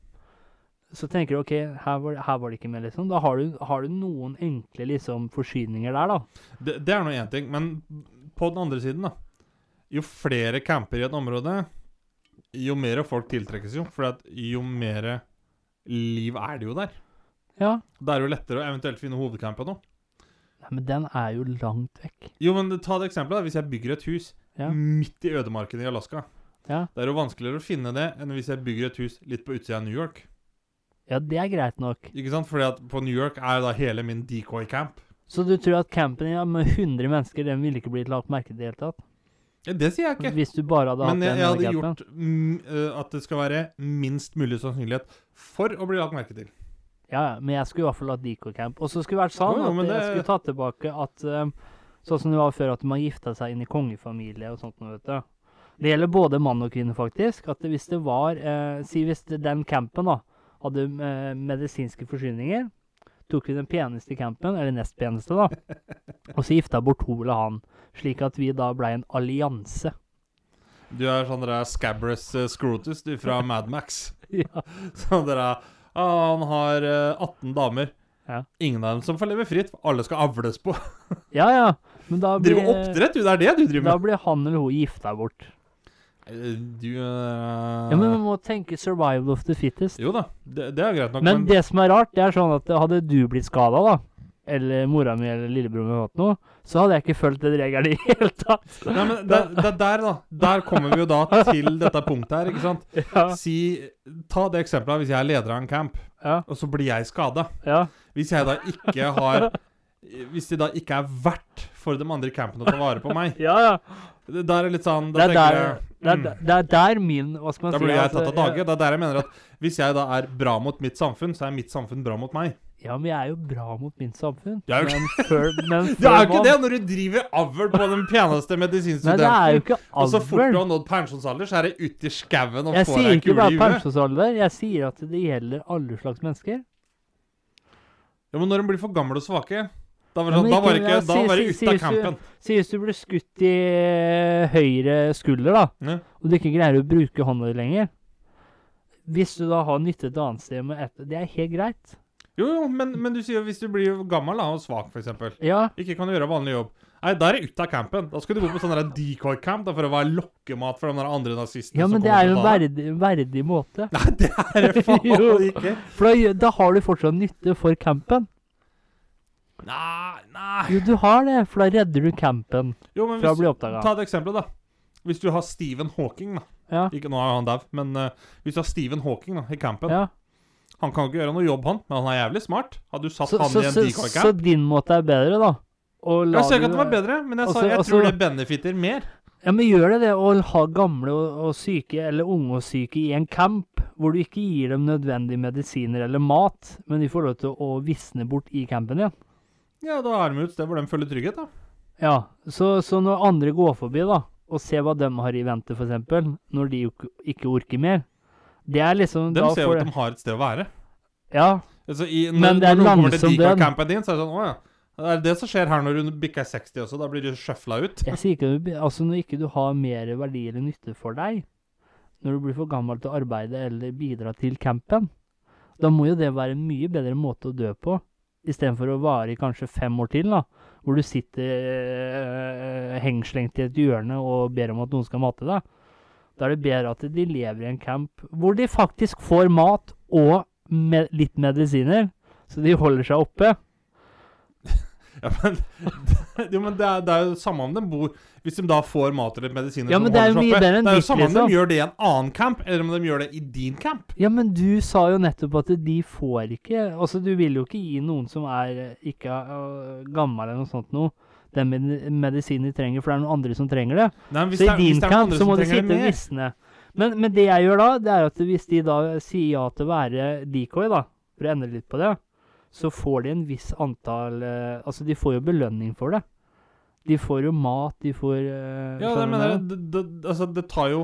Speaker 1: Så tenker du OK, her var, her var det ikke med, liksom. Da har du, har du noen enkle liksom, forsyninger der, da.
Speaker 3: det, det er nå én ting. Men på den andre siden, da. Jo flere camper i et område, jo mer folk tiltrekkes jo. For at jo mer liv er det jo der.
Speaker 1: Ja.
Speaker 3: Da er det jo lettere å eventuelt finne hovedcampen òg.
Speaker 1: Nei, men den er jo langt vekk.
Speaker 3: Jo, men ta det eksempelet. da. Hvis jeg bygger et hus
Speaker 1: Ja.
Speaker 3: midt i ødemarken i Alaska.
Speaker 1: Ja.
Speaker 3: Det er jo vanskeligere å finne det enn hvis jeg bygger et hus litt på utsida av New York.
Speaker 1: ja, det er greit nok.
Speaker 3: Ikke sant? Fordi at på New York er da hele min decoy-camp.
Speaker 1: Så du tror at campen din med 100 mennesker, den ville ikke blitt lagt merke til i det hele tatt?
Speaker 3: Ja, det sier jeg ikke.
Speaker 1: Hvis du bare hadde hatt
Speaker 3: Men jeg,
Speaker 1: den
Speaker 3: jeg
Speaker 1: ene
Speaker 3: hadde
Speaker 1: campen?
Speaker 3: gjort mm, eh, at det skal være minst mulig sannsynlighet for å bli lagt merke til.
Speaker 1: Ja, ja, men jeg skulle i hvert fall hatt Dico-camp. Og så skulle det vært sånn
Speaker 3: Jo, jo,
Speaker 1: at
Speaker 3: men
Speaker 1: jeg
Speaker 3: det-
Speaker 1: skulle tatt tilbake at eh, Sånn som det var før, at man gifta seg inn i kongefamilie og sånt noe, vet du. Det gjelder både mann og kvinne, faktisk. At hvis det var eh, Si hvis det, den campen da hadde eh, medisinske forsyninger, tok vi den peneste campen, eller nest peneste, da, og så gifta bort hun eller han. Slik at vi da blei en allianse.
Speaker 3: Du er sånn der Scabrous eh, Scrotus du
Speaker 1: [laughs]
Speaker 3: fra Mad Max.
Speaker 1: ja.
Speaker 3: Sånn der, ah, Han har eh, 18 damer.
Speaker 1: Ja.
Speaker 3: Ingen av dem som får leve fritt. for Alle skal avles på.
Speaker 1: ja ja. Men da blir,
Speaker 3: Driver med oppdrett, du. Det er det du driver
Speaker 1: da
Speaker 3: med.
Speaker 1: blir han eller hun gifta bort.
Speaker 3: Eh, Du eh,
Speaker 1: Ja, Men man må tenke 'survival of the fittest'.
Speaker 3: Jo da, det, det er greit nok,
Speaker 1: Men det som er rart, det er sånn at hadde du blitt skada, da, eller mora mi eller lillebroren min eller noe, så hadde jeg ikke fulgt den regelen i [laughs] det hele tatt.
Speaker 3: Nei, men det, det er der, da. Der kommer vi jo da til dette punktet her, ikke sant.
Speaker 1: [laughs] Ja,
Speaker 3: Si, ta det eksempelet hvis jeg er leder av en camp,
Speaker 1: ja,
Speaker 3: og så blir jeg skada.
Speaker 1: ja.
Speaker 3: Hvis jeg da ikke har Hvis det da ikke er verdt for de andre i campen å ta vare på meg.
Speaker 1: ja, ja.
Speaker 3: Det der er litt sånn
Speaker 1: Det
Speaker 3: Da
Speaker 1: er
Speaker 3: tenker
Speaker 1: der,
Speaker 3: jeg
Speaker 1: det er,
Speaker 3: mm,
Speaker 1: der- det er der min Hva skal man
Speaker 3: Da
Speaker 1: si?
Speaker 3: blir jeg
Speaker 1: altså,
Speaker 3: tatt av dage. Det er der jeg mener at hvis jeg da er bra mot mitt samfunn, så er mitt samfunn bra mot meg.
Speaker 1: Ja, men jeg er jo bra mot mitt samfunn.
Speaker 3: Du er jo
Speaker 1: men før,
Speaker 3: [laughs]
Speaker 1: men
Speaker 3: Det er jo
Speaker 1: før
Speaker 3: ikke
Speaker 1: man-
Speaker 3: det når du driver avl på den peneste
Speaker 1: Nei, det er jo
Speaker 3: medisinstudenten.
Speaker 1: ikke
Speaker 3: Og så fort du
Speaker 1: avl.
Speaker 3: har nådd pensjonsalder, så er det ut i skauen og
Speaker 1: Jeg
Speaker 3: får
Speaker 1: sier
Speaker 3: deg
Speaker 1: ikke
Speaker 3: kule
Speaker 1: bare
Speaker 3: i huet.
Speaker 1: pensjonsalder, jeg sier at det gjelder alle slags mennesker.
Speaker 3: Ja, men når de blir for gamle og svake Da var,
Speaker 1: Ja,
Speaker 3: det sånn,
Speaker 1: men
Speaker 3: da var det
Speaker 1: ikke-
Speaker 3: ikke,
Speaker 1: ja,
Speaker 3: da
Speaker 1: si-
Speaker 3: var det
Speaker 1: si-
Speaker 3: ute av
Speaker 1: sies du-
Speaker 3: campen.
Speaker 1: Si hvis du blir skutt i høyre skulder, da.
Speaker 3: Ja.
Speaker 1: og du ikke greier å bruke hånda di lenger, hvis du da har nytte et annet sted med et, Det er helt greit.
Speaker 3: Jo, jo, men, men du sier jo hvis du blir gammel da, og svak, f.eks.
Speaker 1: Ja,
Speaker 3: Ikke kan gjøre vanlig jobb. Nei, da er det ute av campen. Da skal du bo på sånn der decoy-camp da, for å være lokkemat for de der andre nazistene.
Speaker 1: ja
Speaker 3: som
Speaker 1: men det
Speaker 3: kommer
Speaker 1: er jo
Speaker 3: til å
Speaker 1: en
Speaker 3: ta deg.
Speaker 1: verdig, verdig måte.
Speaker 3: Nei, det
Speaker 1: [laughs]
Speaker 3: er det faen
Speaker 1: Jo.
Speaker 3: ikke.
Speaker 1: For da, gjør- da har du fortsatt nytte for campen.
Speaker 3: Nei, nei
Speaker 1: Jo, du har det, for da redder du campen
Speaker 3: Jo, men
Speaker 1: fra å bli
Speaker 3: hvis,
Speaker 1: oppdaga.
Speaker 3: ta et eksempel, da. Hvis du har Stephen Hawking, da.
Speaker 1: Ja,
Speaker 3: Ikke, nå er jo han dau, men eh, hvis du har Stephen Hawking da, i campen
Speaker 1: ja.
Speaker 3: Han kan ikke gjøre noe jobb, han, men han er jævlig smart. Hadde du satt
Speaker 1: Så,
Speaker 3: han
Speaker 1: så,
Speaker 3: i en
Speaker 1: så, så
Speaker 3: decoy-camp
Speaker 1: din måte er bedre, da? Å la
Speaker 3: Jeg sa ikke at
Speaker 1: du-
Speaker 3: den var bedre, men jeg,
Speaker 1: Og
Speaker 3: sa,
Speaker 1: så-
Speaker 3: jeg
Speaker 1: og så-
Speaker 3: tror det benefitter mer.
Speaker 1: Ja, men gjør det det å ha gamle og, og syke, eller unge og syke, i en camp, hvor du ikke gir dem nødvendige medisiner eller mat, men de får lov til å visne bort i campen igjen?
Speaker 3: Ja, da er de jo et sted hvor de føler trygghet, da.
Speaker 1: Ja, så, så når andre går forbi, da, og ser hva de har i vente, for eksempel, når de jo ikke- ikke orker mer, det er liksom
Speaker 3: De
Speaker 1: da
Speaker 3: ser jo
Speaker 1: får
Speaker 3: at
Speaker 1: det-
Speaker 3: de har et sted å være.
Speaker 1: Ja,
Speaker 3: Altså, i, når,
Speaker 1: Men det er
Speaker 3: når noen kommer til
Speaker 1: langsom død.
Speaker 3: Deacon-campen din, så er det sånn Å ja. Det er det som skjer her når du bikker 60 også. Da blir du sjøfla ut.
Speaker 1: jeg sier ikke du- Altså, når ikke du har mer verdi eller nytte for deg, når du blir for gammel til å arbeide eller bidra til campen, da må jo det være en mye bedre måte å dø på, istedenfor å vare i kanskje fem år til, da, hvor du sitter eh, hengslengt i et hjørne og ber om at noen skal mate deg. Da er det bedre at de lever i en camp hvor de faktisk får mat og me litt medisiner, så de holder seg oppe.
Speaker 3: Ja, men, [laughs] jo, men det, er, det er jo samme om de bor Hvis de da får mat eller medisiner
Speaker 1: Ja,
Speaker 3: som
Speaker 1: men det er jo
Speaker 3: holder seg
Speaker 1: mye
Speaker 3: oppe,
Speaker 1: bedre enn
Speaker 3: Det er jo
Speaker 1: ditt,
Speaker 3: samme om
Speaker 1: liksom.
Speaker 3: de gjør det i en annen camp, eller om de gjør det i din camp.
Speaker 1: Ja, men du sa jo nettopp at de får ikke Altså, du vil jo ikke gi noen som er eh, ikke øh, gammel eller noe sånt noe, den med- medisinen de trenger, for det er noen andre som trenger det.
Speaker 3: Nei, men hvis
Speaker 1: Så i
Speaker 3: det er- hvis
Speaker 1: din
Speaker 3: det er
Speaker 1: kamp så
Speaker 3: andre som
Speaker 1: må de
Speaker 3: trenger det
Speaker 1: sitte og
Speaker 3: mer-
Speaker 1: visne. Men, men det jeg gjør da, det er at hvis de da sier ja til å være decoy, da, for å endre litt på det, så får de en viss antall eh, Altså, de får jo belønning for det. De får jo mat, de får eh, skjønner
Speaker 3: Ja, det,
Speaker 1: du
Speaker 3: men
Speaker 1: hva
Speaker 3: det,
Speaker 1: jeg mener?
Speaker 3: det, det, altså, det tar jo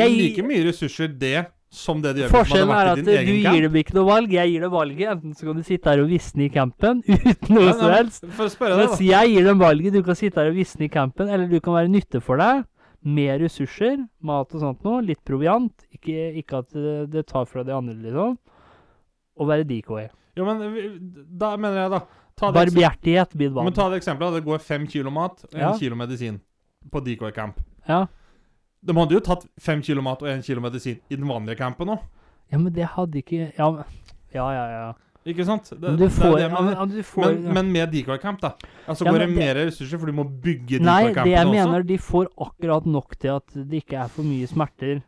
Speaker 1: Jeg-
Speaker 3: like mye ressurser det som det det gjør hvis
Speaker 1: Forskjellen
Speaker 3: man
Speaker 1: er at
Speaker 3: hadde vært i
Speaker 1: du
Speaker 3: din egen
Speaker 1: gir
Speaker 3: camp.
Speaker 1: dem ikke noe valg. Jeg gir dem valget. Enten så kan du sitte her og visne i campen [laughs] uten noe
Speaker 3: Nei,
Speaker 1: som
Speaker 3: nei,
Speaker 1: helst.
Speaker 3: For å spørre deg,
Speaker 1: Mens jeg gir dem valget. Du kan sitte her og visne i campen, eller du kan være nytte for deg. Mer ressurser, mat og sånt noe. Litt proviant. Ikke, ikke at det, det tar fra de andre, liksom. Og være E. decoy.
Speaker 3: da. Jo, men vi- da mener jeg, da ta det,
Speaker 1: Barbhjertighet blir
Speaker 3: Men
Speaker 1: valg.
Speaker 3: ta det eksempelet. Det går fem kilo mat og en
Speaker 1: Ja.
Speaker 3: kilo medisin på Decoy Camp.
Speaker 1: Ja.
Speaker 3: De hadde jo tatt fem kilo mat og en kilo medisin i den vanlige campen òg.
Speaker 1: ja, men det hadde ikke Ja, men- ja, ja. ja.
Speaker 3: Ikke sant? Det-
Speaker 1: Men
Speaker 3: det
Speaker 1: du
Speaker 3: er
Speaker 1: får,
Speaker 3: det jeg
Speaker 1: ja,
Speaker 3: mener.
Speaker 1: men, ja, du får
Speaker 3: men, men med Decoy Camp, da. Altså
Speaker 1: Ja,
Speaker 3: går det
Speaker 1: men
Speaker 3: mer ressurser, for du må bygge
Speaker 1: Nei, det
Speaker 3: Decoy
Speaker 1: jeg
Speaker 3: Campen også.
Speaker 1: mener, de får akkurat nok til at det ikke er for mye smerter.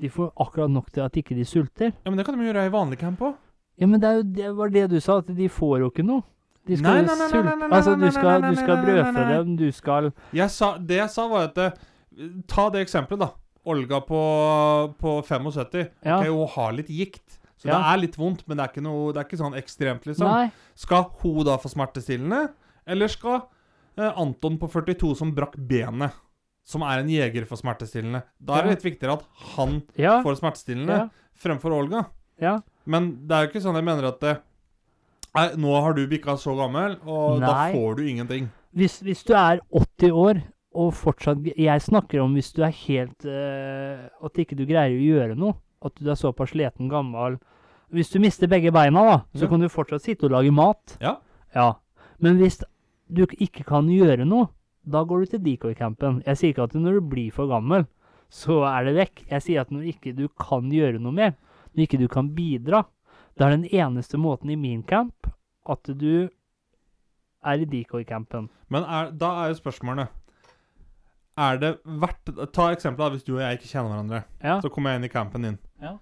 Speaker 1: De får akkurat nok til at ikke de sulter.
Speaker 3: Ja, men det kan de gjøre i vanlig camp òg.
Speaker 1: Ja, men det, er jo, det var det du sa, at de får jo ikke noe. De skal
Speaker 3: Nei,
Speaker 1: jo
Speaker 3: nei, nei, nei,
Speaker 1: sulte.
Speaker 3: nei, nei, nei,
Speaker 1: Altså, du
Speaker 3: nei, nei,
Speaker 1: skal,
Speaker 3: nei,
Speaker 1: du skal
Speaker 3: nei, nei, nei,
Speaker 1: brødfø
Speaker 3: nei.
Speaker 1: dem, du skal
Speaker 3: Jeg sa, det jeg sa, var at eh, Ta det eksempelet, da. Olga på, på 75.
Speaker 1: Ja.
Speaker 3: Ok, hun har litt gikt. Så det
Speaker 1: Ja.
Speaker 3: er litt vondt, men det er ikke, noe, det er ikke sånn ekstremt, liksom.
Speaker 1: Nei.
Speaker 3: Skal hun da få smertestillende, eller skal eh, Anton på 42 som brakk benet, som er en jeger, få smertestillende? Da er det
Speaker 1: Ja.
Speaker 3: litt viktigere at han
Speaker 1: Ja.
Speaker 3: får smertestillende
Speaker 1: Ja.
Speaker 3: fremfor Olga.
Speaker 1: ja.
Speaker 3: Men det er jo ikke sånn jeg mener at det, Nei, nå har du bikka så gammel, og da
Speaker 1: Nei.
Speaker 3: får du ingenting.
Speaker 1: Hvis, hvis du er 80 år og fortsatt Jeg snakker om hvis du er helt eh, At ikke du greier å gjøre noe. At du er såpass sliten, gammel Hvis du mister begge beina, da, så
Speaker 3: Ja.
Speaker 1: kan du fortsatt sitte og lage mat.
Speaker 3: Ja.
Speaker 1: Ja. Men hvis du ikke kan gjøre noe, da går du til decoy-campen. Jeg sier ikke at når du blir for gammel, så er det vekk. Jeg sier at når ikke du kan gjøre noe mer, når ikke du kan bidra, da er den eneste måten i min camp at du er i decoy-campen.
Speaker 3: Men er, da er jo spørsmålene Er det verdt Ta eksempelet da, hvis du og jeg ikke kjenner hverandre.
Speaker 1: Ja.
Speaker 3: Så kommer jeg inn i campen din.
Speaker 1: Ja.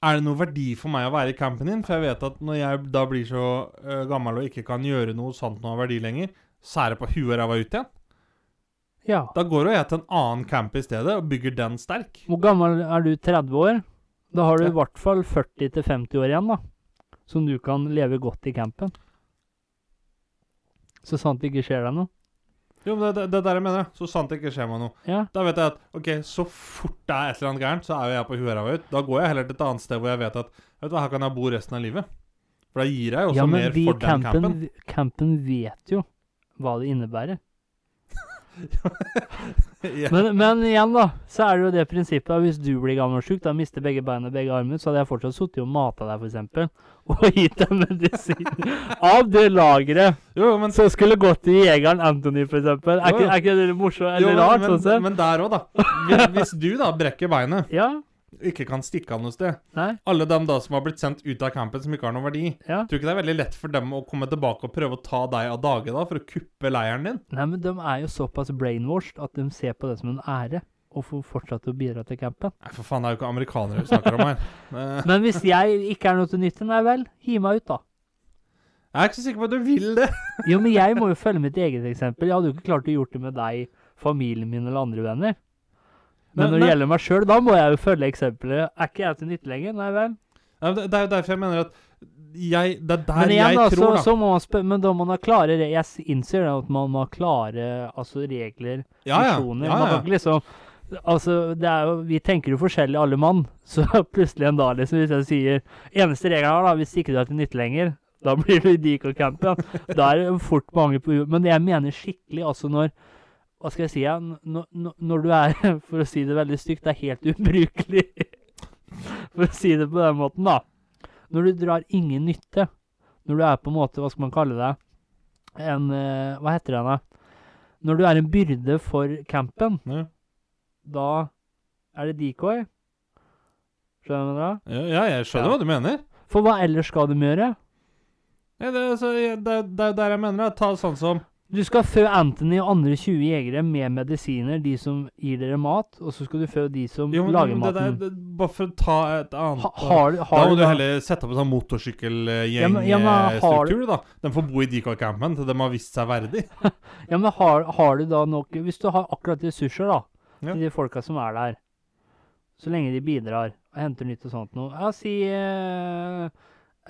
Speaker 3: Er det noe verdi for meg å være i campen din? For jeg vet at når jeg da blir så øh, gammel og ikke kan gjøre noe sånt noe av verdi lenger, så er det på huet og ræva ut igjen.
Speaker 1: ja.
Speaker 3: Da går jo jeg til en annen camp i stedet og bygger den sterk.
Speaker 1: Hvor gammel er du? 30 år? Da har du
Speaker 3: Ja.
Speaker 1: i hvert fall 40-50 år igjen, da. Som du kan leve godt i campen. Så sant det ikke skjer deg noe.
Speaker 3: Jo, men det, det, det er der jeg mener. Så sant det ikke skjer meg noe.
Speaker 1: Ja.
Speaker 3: Da vet jeg at ok, så fort det er et eller annet gærent, så er jo jeg på huet og ræva ut. Da går jeg heller til et annet sted hvor jeg vet at vet du hva, her kan jeg bo resten av livet. For da gir jeg jo også
Speaker 1: Ja, men
Speaker 3: mer
Speaker 1: vi i
Speaker 3: for den
Speaker 1: campen,
Speaker 3: campen.
Speaker 1: campen vet jo hva det innebærer.
Speaker 3: [laughs] ja.
Speaker 1: Men, men igjen, da, så er det jo det prinsippet at hvis du blir gammel og sjuk, da mister begge beina og begge armene, så hadde jeg fortsatt sittet og mata deg, f.eks., [laughs] og gitt deg medisin av det lageret
Speaker 3: Jo, men
Speaker 1: som skulle gått til jegeren Anthony, f.eks. Er, ikke- er ikke det morsomt
Speaker 3: Jo,
Speaker 1: eller
Speaker 3: men-
Speaker 1: rart,
Speaker 3: men,
Speaker 1: sånn sett?
Speaker 3: men der òg, da. Hvis- Hvis du da brekker beinet,
Speaker 1: Ja.
Speaker 3: ikke kan stikke av noe sted
Speaker 1: Nei.
Speaker 3: Alle dem da som har blitt sendt ut av campen som ikke har noen verdi
Speaker 1: Ja.
Speaker 3: Tror du ikke det er veldig lett for dem å komme tilbake og prøve å ta deg av dage da, for å kuppe leiren din?
Speaker 1: Nei, men de er jo såpass brainwashed at de ser på det som en ære å få fortsette å bidra til campen.
Speaker 3: Nei, for faen, det er jo ikke amerikanere vi snakker om her.
Speaker 1: [laughs]
Speaker 3: Eh,
Speaker 1: Men hvis jeg ikke er noe til nytte, nei vel, hiv meg ut, da.
Speaker 3: Jeg er ikke så sikker på at du vil det.
Speaker 1: Jo, men jeg må jo følge mitt eget eksempel. Jeg hadde jo ikke klart å gjort det med deg familien min eller andre venner.
Speaker 3: Nei,
Speaker 1: Men når det
Speaker 3: nei.
Speaker 1: gjelder meg sjøl, da må jeg jo følge eksempelet. Er ikke jeg til nytte lenger? Nei vel.
Speaker 3: Ja, det, det er jo derfor jeg mener at jeg, Det er der
Speaker 1: Men igjen,
Speaker 3: jeg
Speaker 1: da, så,
Speaker 3: tror, da.
Speaker 1: så må man spør, men da må man ha klare re- Jeg s- innser da at man må ha klare altså, regler,
Speaker 3: ja, ja,
Speaker 1: funksjoner.
Speaker 3: ja,
Speaker 1: Man kan
Speaker 3: ja.
Speaker 1: ikke liksom Altså, det er jo, Vi tenker jo forskjellig alle mann, [laughs] så plutselig en dag liksom, hvis jeg sier Eneste regelen er da, hvis ikke du er til nytte lenger, da blir du [laughs] dik og campen. Da er det fort mange på jorda. Men jeg mener skikkelig, altså når Hva skal jeg si? ja, n- Når, når- når du er, [laughs] for å si det veldig stygt, det er helt ubrukelig. [laughs] For å si det på den måten, da. Når du drar ingen nytte, når du er på en måte, hva skal man kalle det, en eh, Hva heter det, da? Når du er en byrde for campen,
Speaker 3: Ja.
Speaker 1: da er det decoy. Skjønner du? hva jeg mener da?
Speaker 3: Ja, ja, jeg skjønner
Speaker 1: Ja.
Speaker 3: hva du mener.
Speaker 1: For hva ellers skal de gjøre?
Speaker 3: Ja, det, er altså, jeg- det, er- det er der jeg mener. Da. Ta sånn som
Speaker 1: Du skal fø Anthony og andre 20 jegere med medisiner, de som gir dere mat, og så skal du fø de som
Speaker 3: jo, men
Speaker 1: lager
Speaker 3: det der,
Speaker 1: maten.
Speaker 3: det, Bare for å ta et annet
Speaker 1: ha, har, du- har
Speaker 3: Da må du
Speaker 1: da-
Speaker 3: heller sette opp en sånn
Speaker 1: Ja, men- ja, men har
Speaker 3: motorsykkelgjengstruktur,
Speaker 1: du-
Speaker 3: da. De får bo i Decoy-campen til de har vist seg verdig.
Speaker 1: Ja, men har, har du da nok Hvis du har akkurat ressurser, da,
Speaker 3: Ja.
Speaker 1: til de folka som er der, så lenge de bidrar og henter nytt og sånt noe Ja, si eh,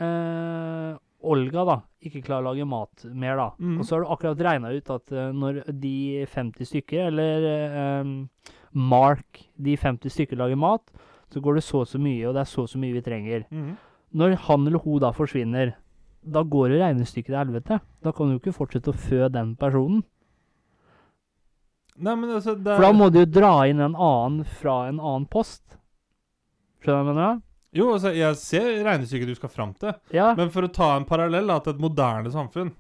Speaker 1: eh, Olga, da, ikke klarer å lage mat mer, da.
Speaker 3: Mhm.
Speaker 1: Og så har du akkurat regna ut at eh, når de 50 stykker, eller eh, em, Mark, de 50 stykker lager mat, så går det så og så mye, og det er så og så mye vi trenger.
Speaker 3: Mhm.
Speaker 1: Når han eller hun da forsvinner, da går jo regnestykket til helvete. Da kan du jo ikke fortsette å fø den personen.
Speaker 3: Nei, men altså det
Speaker 1: For da
Speaker 3: er,
Speaker 1: må du jo dra inn en annen fra en annen post. Skjønner du hva jeg mener?
Speaker 3: Jo, altså, jeg ser regnestykket du skal fram til,
Speaker 1: da? Ja.
Speaker 3: men for å ta en parallell da, til et moderne samfunn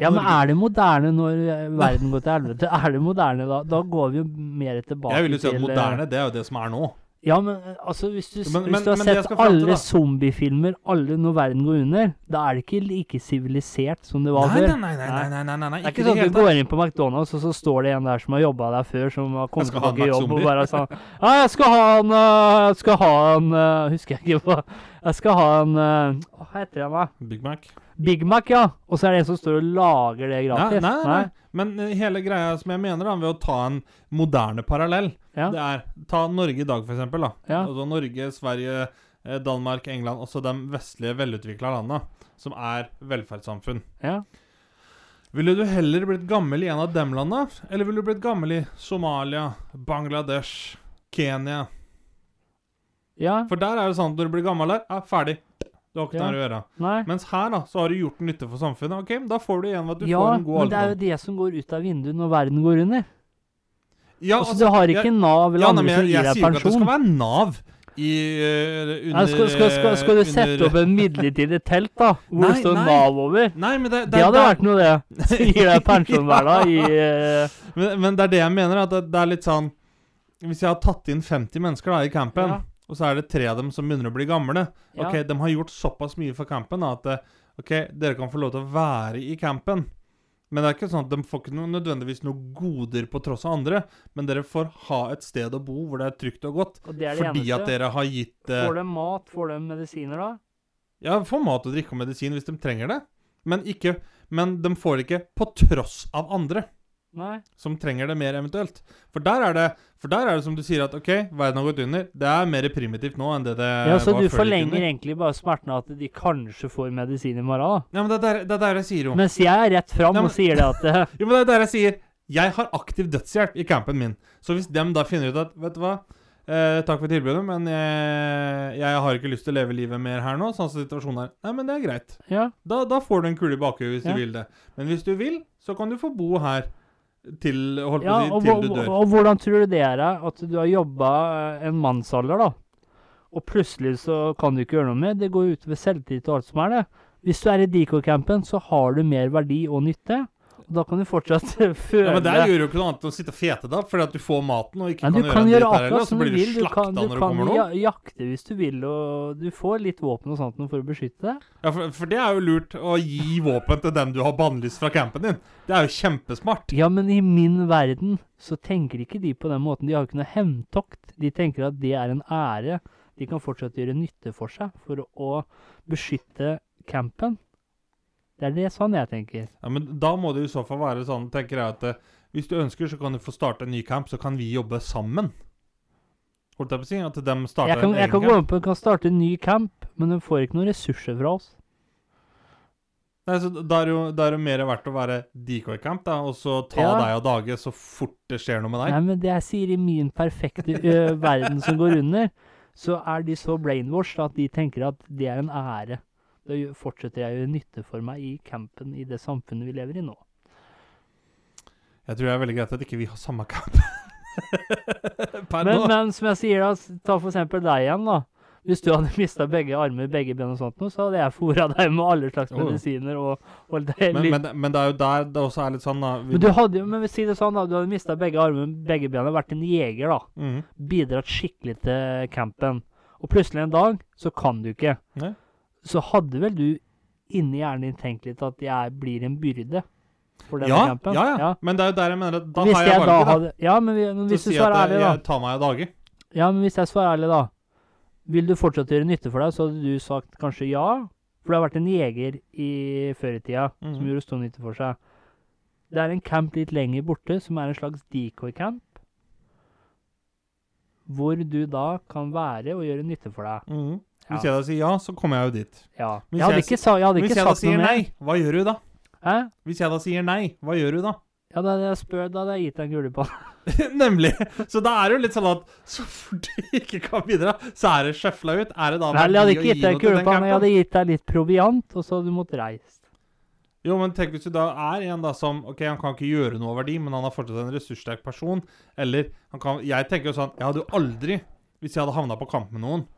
Speaker 1: ja, men
Speaker 3: Norge-
Speaker 1: er det moderne når eh, verden går til helvete? Er det moderne da? Da går vi jo mer tilbake til
Speaker 3: Jeg vil jo si at
Speaker 1: eh,
Speaker 3: moderne, det er jo det som er nå.
Speaker 1: Ja, men eh, altså, hvis du, s-
Speaker 3: Men- men-
Speaker 1: hvis du har
Speaker 3: men det jeg
Speaker 1: sett
Speaker 3: skal fram til, da-
Speaker 1: alle zombiefilmer, alle når verden går under, da er det ikke like sivilisert som det var
Speaker 3: Nei,
Speaker 1: før.
Speaker 3: nei, nei, nei, nei, nei, nei,
Speaker 1: Det
Speaker 3: nei.
Speaker 1: er
Speaker 3: ikke
Speaker 1: ikke
Speaker 3: i det
Speaker 1: sånn at
Speaker 3: hele
Speaker 1: du
Speaker 3: tatt.
Speaker 1: går inn på McDonald's, og så står det en der som har jobba der før, som har kommet
Speaker 3: Jeg skal ha en
Speaker 1: tilbake i jobb og
Speaker 3: McZombie.
Speaker 1: bare sånn Ja, jeg skal ha en øh, Jeg skal ha en øh, Husker jeg ikke hva Jeg skal ha en øh, Hva heter den, da?
Speaker 3: Big Mac.
Speaker 1: Big Mac, ja. Og så er det en som står og lager det
Speaker 3: Nei, nei,
Speaker 1: gratis.
Speaker 3: nei, nei. Men eh, hele greia som jeg mener, da, ved å ta en moderne parallell,
Speaker 1: Ja.
Speaker 3: det er Ta Norge i dag, for eksempel. Da.
Speaker 1: Ja.
Speaker 3: Altså Norge, Sverige, eh, Danmark, England, også de vestlige, velutvikla landa, som er velferdssamfunn.
Speaker 1: Ja.
Speaker 3: Ville du heller blitt gammel i en av dem landa, eller ville du blitt gammel i Somalia, Bangladesh, Kenya?
Speaker 1: ja.
Speaker 3: For der er jo sånn at når du blir gammel der, ja, ferdig. Du har ikke
Speaker 1: Ja.
Speaker 3: noe her å gjøre.
Speaker 1: Nei.
Speaker 3: Mens her, da, så har du gjort nytte for samfunnet. Ok, da får du igjen ved at du
Speaker 1: Ja,
Speaker 3: får en god
Speaker 1: men det er jo
Speaker 3: alderdom.
Speaker 1: det som går ut av vinduet når verden går under.
Speaker 3: Ja,
Speaker 1: altså,
Speaker 3: altså,
Speaker 1: du har
Speaker 3: jeg-
Speaker 1: ikke Nav eller
Speaker 3: Ja, nei,
Speaker 1: andre
Speaker 3: men
Speaker 1: som
Speaker 3: jeg,
Speaker 1: gir
Speaker 3: jeg
Speaker 1: deg
Speaker 3: sier ikke at det skal
Speaker 1: pensjon.
Speaker 3: være Nav i eh, under,
Speaker 1: Nei, skal, skal, skal, skal du sette
Speaker 3: under-
Speaker 1: opp en midlertidig telt, da, hvor
Speaker 3: Nei,
Speaker 1: det står
Speaker 3: nei.
Speaker 1: Nav over?
Speaker 3: Nei, men det, det,
Speaker 1: Det hadde
Speaker 3: det-
Speaker 1: vært noe, det. Så gir deg pensjon hver dag i eh,
Speaker 3: men, men det er det jeg mener, at det, det er litt sånn Hvis jeg har tatt inn 50 mennesker da i campen,
Speaker 1: Ja.
Speaker 3: og så er det tre av dem som begynner å bli gamle
Speaker 1: Ja.
Speaker 3: Ok, de har gjort såpass mye for campen da, at eh, Ok, dere kan få lov til å være i campen. Men det er ikke sånn at de får ikke noe, nødvendigvis noen goder på tross av andre, men dere får ha et sted å bo hvor det er trygt og godt.
Speaker 1: Og det er det
Speaker 3: Fordi
Speaker 1: eneste.
Speaker 3: at dere har gitt eh,
Speaker 1: Får de mat, får de medisiner da?
Speaker 3: Ja, få mat og drikke og medisin hvis de trenger det. Men, ikke, men de får det ikke på tross av andre
Speaker 1: Nei.
Speaker 3: som trenger det mer eventuelt. For der er det, for der er det som du sier at OK, verden har gått under. Det er mer primitivt nå enn det det
Speaker 1: Ja, Så
Speaker 3: var
Speaker 1: du
Speaker 3: før det gikk
Speaker 1: forlenger
Speaker 3: under.
Speaker 1: egentlig bare smerten av at de kanskje får medisin i morgen, da.
Speaker 3: Ja, men det er der, det er der jeg sier jo.
Speaker 1: Mens jeg er rett fram
Speaker 3: Nei,
Speaker 1: og
Speaker 3: men-
Speaker 1: sier det at
Speaker 3: [laughs]
Speaker 1: eh,
Speaker 3: Jo, men det er der jeg sier Jeg har aktiv dødshjelp i campen min. Så hvis dem da finner ut at Vet du hva? Eh, takk for tilbudet, men jeg, jeg har ikke lyst til å leve livet mer her nå. Sånn som situasjonen er. Nei, men det er greit.
Speaker 1: Ja,
Speaker 3: Da, da får du en kule i bakhuet hvis
Speaker 1: Ja.
Speaker 3: du vil det. Men hvis du vil, så kan du få bo her til, holdt
Speaker 1: ja
Speaker 3: på å
Speaker 1: og,
Speaker 3: si, til du
Speaker 1: hva-
Speaker 3: dør.
Speaker 1: og hvordan tror du det er eh, at du har jobba en mannsalder, da, og plutselig så kan du ikke gjøre noe med det? går jo utover selvtillit og alt som er det. Hvis du er i Deco-campen, så har du mer verdi og nytte. Og da kan du fortsatt [laughs] føle
Speaker 3: Ja, men Der gjør du jo ikke noe annet enn å sitte og fete deg opp, fordi at du får maten og ikke
Speaker 1: Men du
Speaker 3: kan,
Speaker 1: kan
Speaker 3: gjøre
Speaker 1: gjøre
Speaker 3: en dritt der heller,
Speaker 1: akkurat
Speaker 3: og så
Speaker 1: som du
Speaker 3: blir du
Speaker 1: vil. Du kan,
Speaker 3: slakta
Speaker 1: du
Speaker 3: når det
Speaker 1: kan
Speaker 3: kommer noen.
Speaker 1: ja- jakte hvis du vil, og du får litt våpen og sånt noe for å beskytte deg.
Speaker 3: Ja, for, for det er jo lurt å gi våpen til dem du har bannlyst fra campen din. Det er jo kjempesmart.
Speaker 1: Ja, men i min verden så tenker ikke de på den måten. De har ikke noe hevntokt. De tenker at det er en ære. De kan fortsatt gjøre nytte for seg for å beskytte campen. Det er det sånn jeg tenker.
Speaker 3: Ja, Men da må det i så fall være sånn, tenker jeg, at eh, Hvis du ønsker, så kan du få starte en ny camp, så kan vi jobbe sammen. Holdt jeg på å si? At de starter
Speaker 1: Jeg kan,
Speaker 3: en
Speaker 1: jeg
Speaker 3: egen
Speaker 1: kan gå
Speaker 3: camp.
Speaker 1: med på at vi kan starte en ny camp, men de får ikke noen ressurser fra oss.
Speaker 3: Nei, så Da er det jo, da er det jo mer verdt å være decoy-camp, da, og så ta
Speaker 1: Ja.
Speaker 3: deg av dage så fort det skjer noe med deg.
Speaker 1: Nei, men det jeg sier i min perfekte ø, verden som går under, så er de så brainwashed at de tenker at det er en ære. Da gjør- fortsetter jeg å gjøre nytte for meg i campen i det samfunnet vi lever i nå.
Speaker 3: Jeg tror det er veldig greit at ikke vi har samme camp. [laughs] per
Speaker 1: Men,
Speaker 3: nå.
Speaker 1: men som jeg sier, da, s- ta for eksempel deg igjen, da. Hvis du hadde [laughs] mista begge armer, begge ben og sånt noe, så hadde jeg fôra deg med alle slags
Speaker 3: Jo, jo.
Speaker 1: medisiner og, og det
Speaker 3: Men, men, men det er jo der det også er litt sånn, da vi,
Speaker 1: Men du hadde jo, men si det sånn, da. Du hadde mista begge armene, begge bena, vært en jeger, da.
Speaker 3: Mhm.
Speaker 1: bidratt skikkelig til campen. Og plutselig en dag så kan du ikke.
Speaker 3: Nei.
Speaker 1: Så hadde vel du inni hjernen din tenkt litt at jeg blir en byrde for denne
Speaker 3: ja,
Speaker 1: campen?
Speaker 3: ja, ja, Men det er jo der jeg mener at da
Speaker 1: Hvis
Speaker 3: har jeg
Speaker 1: da
Speaker 3: valget.
Speaker 1: hadde, ja, men vi, men
Speaker 3: da.
Speaker 1: hvis
Speaker 3: Så
Speaker 1: du
Speaker 3: si at
Speaker 1: svarer
Speaker 3: jeg,
Speaker 1: ærlig, da.
Speaker 3: jeg tar meg av dage.
Speaker 1: Ja, men hvis jeg svarer ærlig, da. Vil du fortsatt gjøre nytte for deg, så hadde du sagt kanskje ja. For det har vært en jeger i før i tida som
Speaker 3: Mhm.
Speaker 1: gjorde stor nytte for seg. Det er en camp litt lenger borte, som er en slags decoy-camp. Hvor du da kan være og gjøre nytte for deg.
Speaker 3: Mhm. Hvis
Speaker 1: Ja.
Speaker 3: jeg da sier ja, så kommer jeg jo dit.
Speaker 1: Ja.
Speaker 3: Hvis
Speaker 1: Jeg hadde
Speaker 3: jeg
Speaker 1: ikke, sa, jeg hadde
Speaker 3: Hvis
Speaker 1: ikke
Speaker 3: jeg da
Speaker 1: sagt noe
Speaker 3: sier
Speaker 1: mer.
Speaker 3: nei, hva gjør du da?
Speaker 1: Hæ?
Speaker 3: Hvis jeg da sier nei, hva gjør du da? [laughs]
Speaker 1: Ja, da hadde jeg spurt, da hadde jeg gitt deg en gulepann.
Speaker 3: Nemlig. Så da er det jo litt sånn at så fort du ikke kan bidra, så er det sjøfla ut. Er det da
Speaker 1: Nei, jeg hadde
Speaker 3: verdi å
Speaker 1: ikke gitt
Speaker 3: gi
Speaker 1: deg
Speaker 3: noe
Speaker 1: en
Speaker 3: til den
Speaker 1: gulepann, jeg
Speaker 3: campen?
Speaker 1: hadde gitt deg litt proviant, og så hadde du måttet reist.
Speaker 3: Jo, men tenk hvis du da er en da som Ok, han kan ikke gjøre noe av verdi, men han er fortsatt en ressurssterk person. Eller han kan Jeg tenker jo sånn Jeg hadde jo aldri, hvis jeg hadde havna på kamp med noen,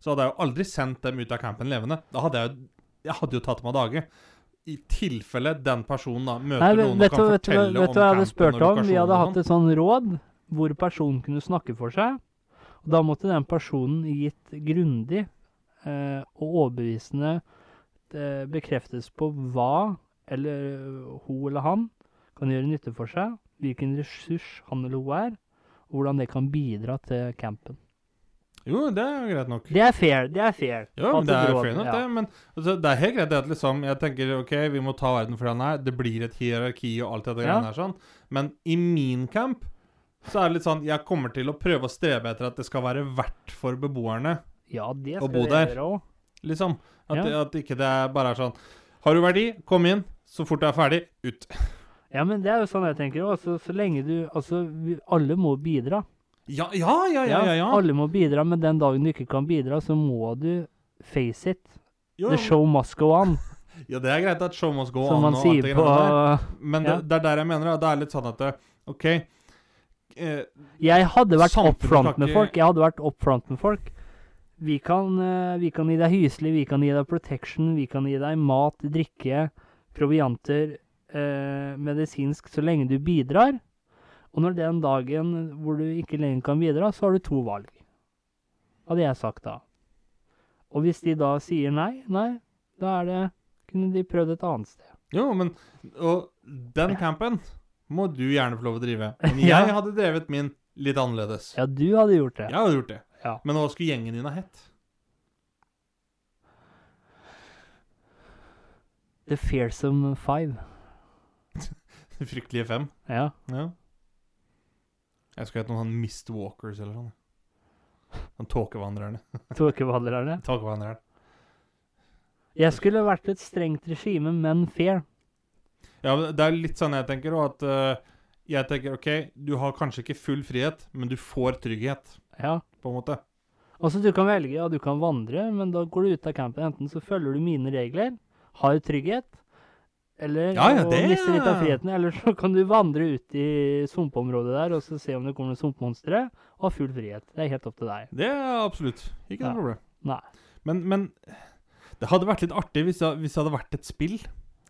Speaker 3: så hadde jeg jo aldri sendt dem ut av campen levende. Da hadde jeg jo Jeg hadde jo tatt dem av dage. I tilfelle den personen da møter
Speaker 1: Nei, vet,
Speaker 3: noen
Speaker 1: vet, du-
Speaker 3: og kan
Speaker 1: vet, du-
Speaker 3: fortelle
Speaker 1: vet du hva jeg hadde
Speaker 3: campen
Speaker 1: spurt om? Vi
Speaker 3: og lokasjonen
Speaker 1: hadde
Speaker 3: og
Speaker 1: hatt et sånn råd hvor personen kunne snakke for seg. Og da måtte den personen gitt grundig eh, og overbevisende eh, bekreftes på hva eller hun eller han kan gjøre nytte for seg, hvilken ressurs han eller hun er, og hvordan det kan bidra til campen.
Speaker 3: sånt. Jo, det er jo greit nok.
Speaker 1: Det er fair. Det er fair.
Speaker 3: Ja, men
Speaker 1: At
Speaker 3: det er
Speaker 1: drar-
Speaker 3: fair nok,
Speaker 1: ja.
Speaker 3: det. Men altså, det er helt greit det at liksom Jeg tenker OK, vi må ta verden for den her. Det blir et hierarki og alt dette
Speaker 1: Ja.
Speaker 3: greiene her sånn. Men i min camp så er det litt sånn Jeg kommer til å prøve å strebe etter at det skal være verdt for beboerne,
Speaker 1: Ja, det
Speaker 3: Å
Speaker 1: skal
Speaker 3: bo
Speaker 1: vi
Speaker 3: der.
Speaker 1: gjøre òg.
Speaker 3: liksom. At,
Speaker 1: Ja.
Speaker 3: at ikke det er bare er sånn Har du verdi, kom inn. Så fort du er ferdig, ut.
Speaker 1: Ja, men det er jo sånn jeg tenker òg. Altså, så lenge du Altså, vi, alle må bidra.
Speaker 3: Ja, ja, ja, ja. ja, ja.
Speaker 1: Alle må bidra, men den dagen du ikke kan bidra, så må du face it.
Speaker 3: Jo,
Speaker 1: The show must go on,
Speaker 3: ja, det er greit at show must go
Speaker 1: som
Speaker 3: on.
Speaker 1: man
Speaker 3: og alt
Speaker 1: sier
Speaker 3: det
Speaker 1: på
Speaker 3: greiene der. Men det,
Speaker 1: ja.
Speaker 3: det er der jeg mener da, det er litt sånn at det, OK eh,
Speaker 1: Jeg hadde vært
Speaker 3: Samfunnet
Speaker 1: up front med
Speaker 3: snakker-
Speaker 1: folk. Jeg hadde vært up front med folk. Vi kan, eh, vi kan gi deg hyselig, vi kan gi deg protection, vi kan gi deg mat, drikke, provianter, eh, medisinsk, så lenge du bidrar. Og når den dagen hvor du ikke lenger kan bidra, så har du to valg. Hadde jeg sagt da. Og hvis de da sier nei, nei, da er det Kunne de prøvd et annet sted.
Speaker 3: Jo, men Og den campen må du gjerne få lov
Speaker 1: [laughs]
Speaker 3: å drive. Men
Speaker 1: Ja.
Speaker 3: jeg hadde drevet min litt annerledes.
Speaker 1: Ja, du hadde gjort det.
Speaker 3: Jeg hadde gjort det.
Speaker 1: Ja.
Speaker 3: Men hva skulle gjengen din ha hett? [laughs]
Speaker 1: The Fearsome Five.
Speaker 3: De Fryktelige fem.
Speaker 1: Ja.
Speaker 3: Ja. Jeg skulle hett noen sånn Mist Walkers eller sånn. Sånn tåkevandrerne.
Speaker 1: Tåkevandrerne.
Speaker 3: Tåkevandreren.
Speaker 1: Jeg skulle vært et strengt regime, men fair.
Speaker 3: Ja, men det er litt sånn jeg tenker òg, at eh, jeg tenker OK, du har kanskje ikke full frihet, men du får trygghet,
Speaker 1: Ja.
Speaker 3: på en måte.
Speaker 1: Altså, du kan velge, ja, du kan vandre, men da går du ut av campen. Enten så følger du mine regler, har trygghet, eller
Speaker 3: Ja, ja,
Speaker 1: og
Speaker 3: det-
Speaker 1: mister litt av friheten, eller så kan du vandre ut i sumpområdet der og så se om det kommer noen sumpmonstre, og ha full frihet. Det er helt opp til deg.
Speaker 3: Det er absolutt ikke
Speaker 1: Ja.
Speaker 3: noe problem.
Speaker 1: Nei.
Speaker 3: Men, men det hadde vært litt artig hvis det, hvis det hadde vært et spill,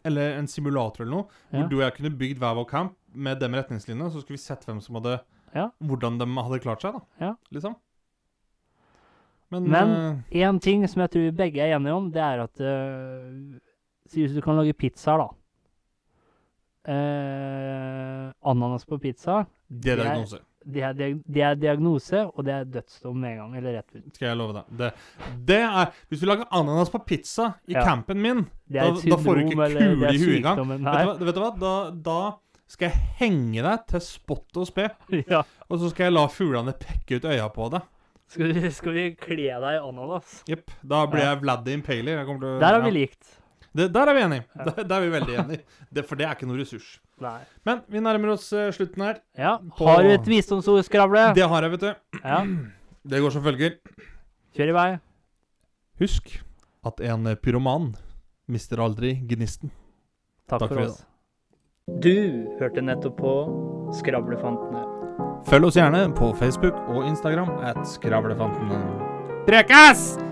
Speaker 3: eller en simulator eller noe, hvor
Speaker 1: Ja.
Speaker 3: du og jeg kunne bygd hver vår camp med de retningslinjene, og så skulle vi sett hvem som hadde
Speaker 1: Ja.
Speaker 3: Hvordan de hadde klart seg, da.
Speaker 1: Ja.
Speaker 3: Liksom. Men,
Speaker 1: Men-
Speaker 3: eh,
Speaker 1: Én ting som jeg tror vi begge er enige om, det er at øh, Si hvis du kan lage pizzaer, da. Eh, ananas på pizza,
Speaker 3: det er diagnose,
Speaker 1: det er, diag det er diagnose, og det er dødsdom med en gang, eller rett ut.
Speaker 3: skal jeg love deg. Det, det er Hvis du lager ananas på pizza i
Speaker 1: Ja.
Speaker 3: campen min,
Speaker 1: Det er
Speaker 3: Da- da får du ikke
Speaker 1: eller det
Speaker 3: kule
Speaker 1: er
Speaker 3: i huet engang.
Speaker 1: sykdommen.
Speaker 3: vet
Speaker 1: Nei.
Speaker 3: du, hva, vet du hva, da, da skal jeg henge deg til spott og spe,
Speaker 1: [laughs] Ja.
Speaker 3: og så skal jeg la fuglene pekke ut øya på deg.
Speaker 1: Skal vi, skal vi kle deg i ananas?
Speaker 3: Jepp. Da blir
Speaker 1: Ja.
Speaker 3: jeg Vlad the Impaler. Jeg kommer til å-
Speaker 1: Der har vi
Speaker 3: ja.
Speaker 1: likt.
Speaker 3: Det, der er vi enige.
Speaker 1: Ja.
Speaker 3: Der, der er vi veldig enige. Det, for det er ikke noe ressurs.
Speaker 1: Nei.
Speaker 3: Men vi nærmer oss eh, slutten her.
Speaker 1: Ja.
Speaker 3: På-
Speaker 1: Har du et visdomsord, Skravle?
Speaker 3: Det har jeg, vet du.
Speaker 1: Ja.
Speaker 3: Det går som følger.
Speaker 1: Kjør i vei.
Speaker 3: Husk at en pyroman mister aldri gnisten.
Speaker 1: Takk, for oss. Du hørte nettopp på Skravlefantene.
Speaker 3: Følg oss gjerne på Facebook og Instagram at Skravlefantene. Prekas!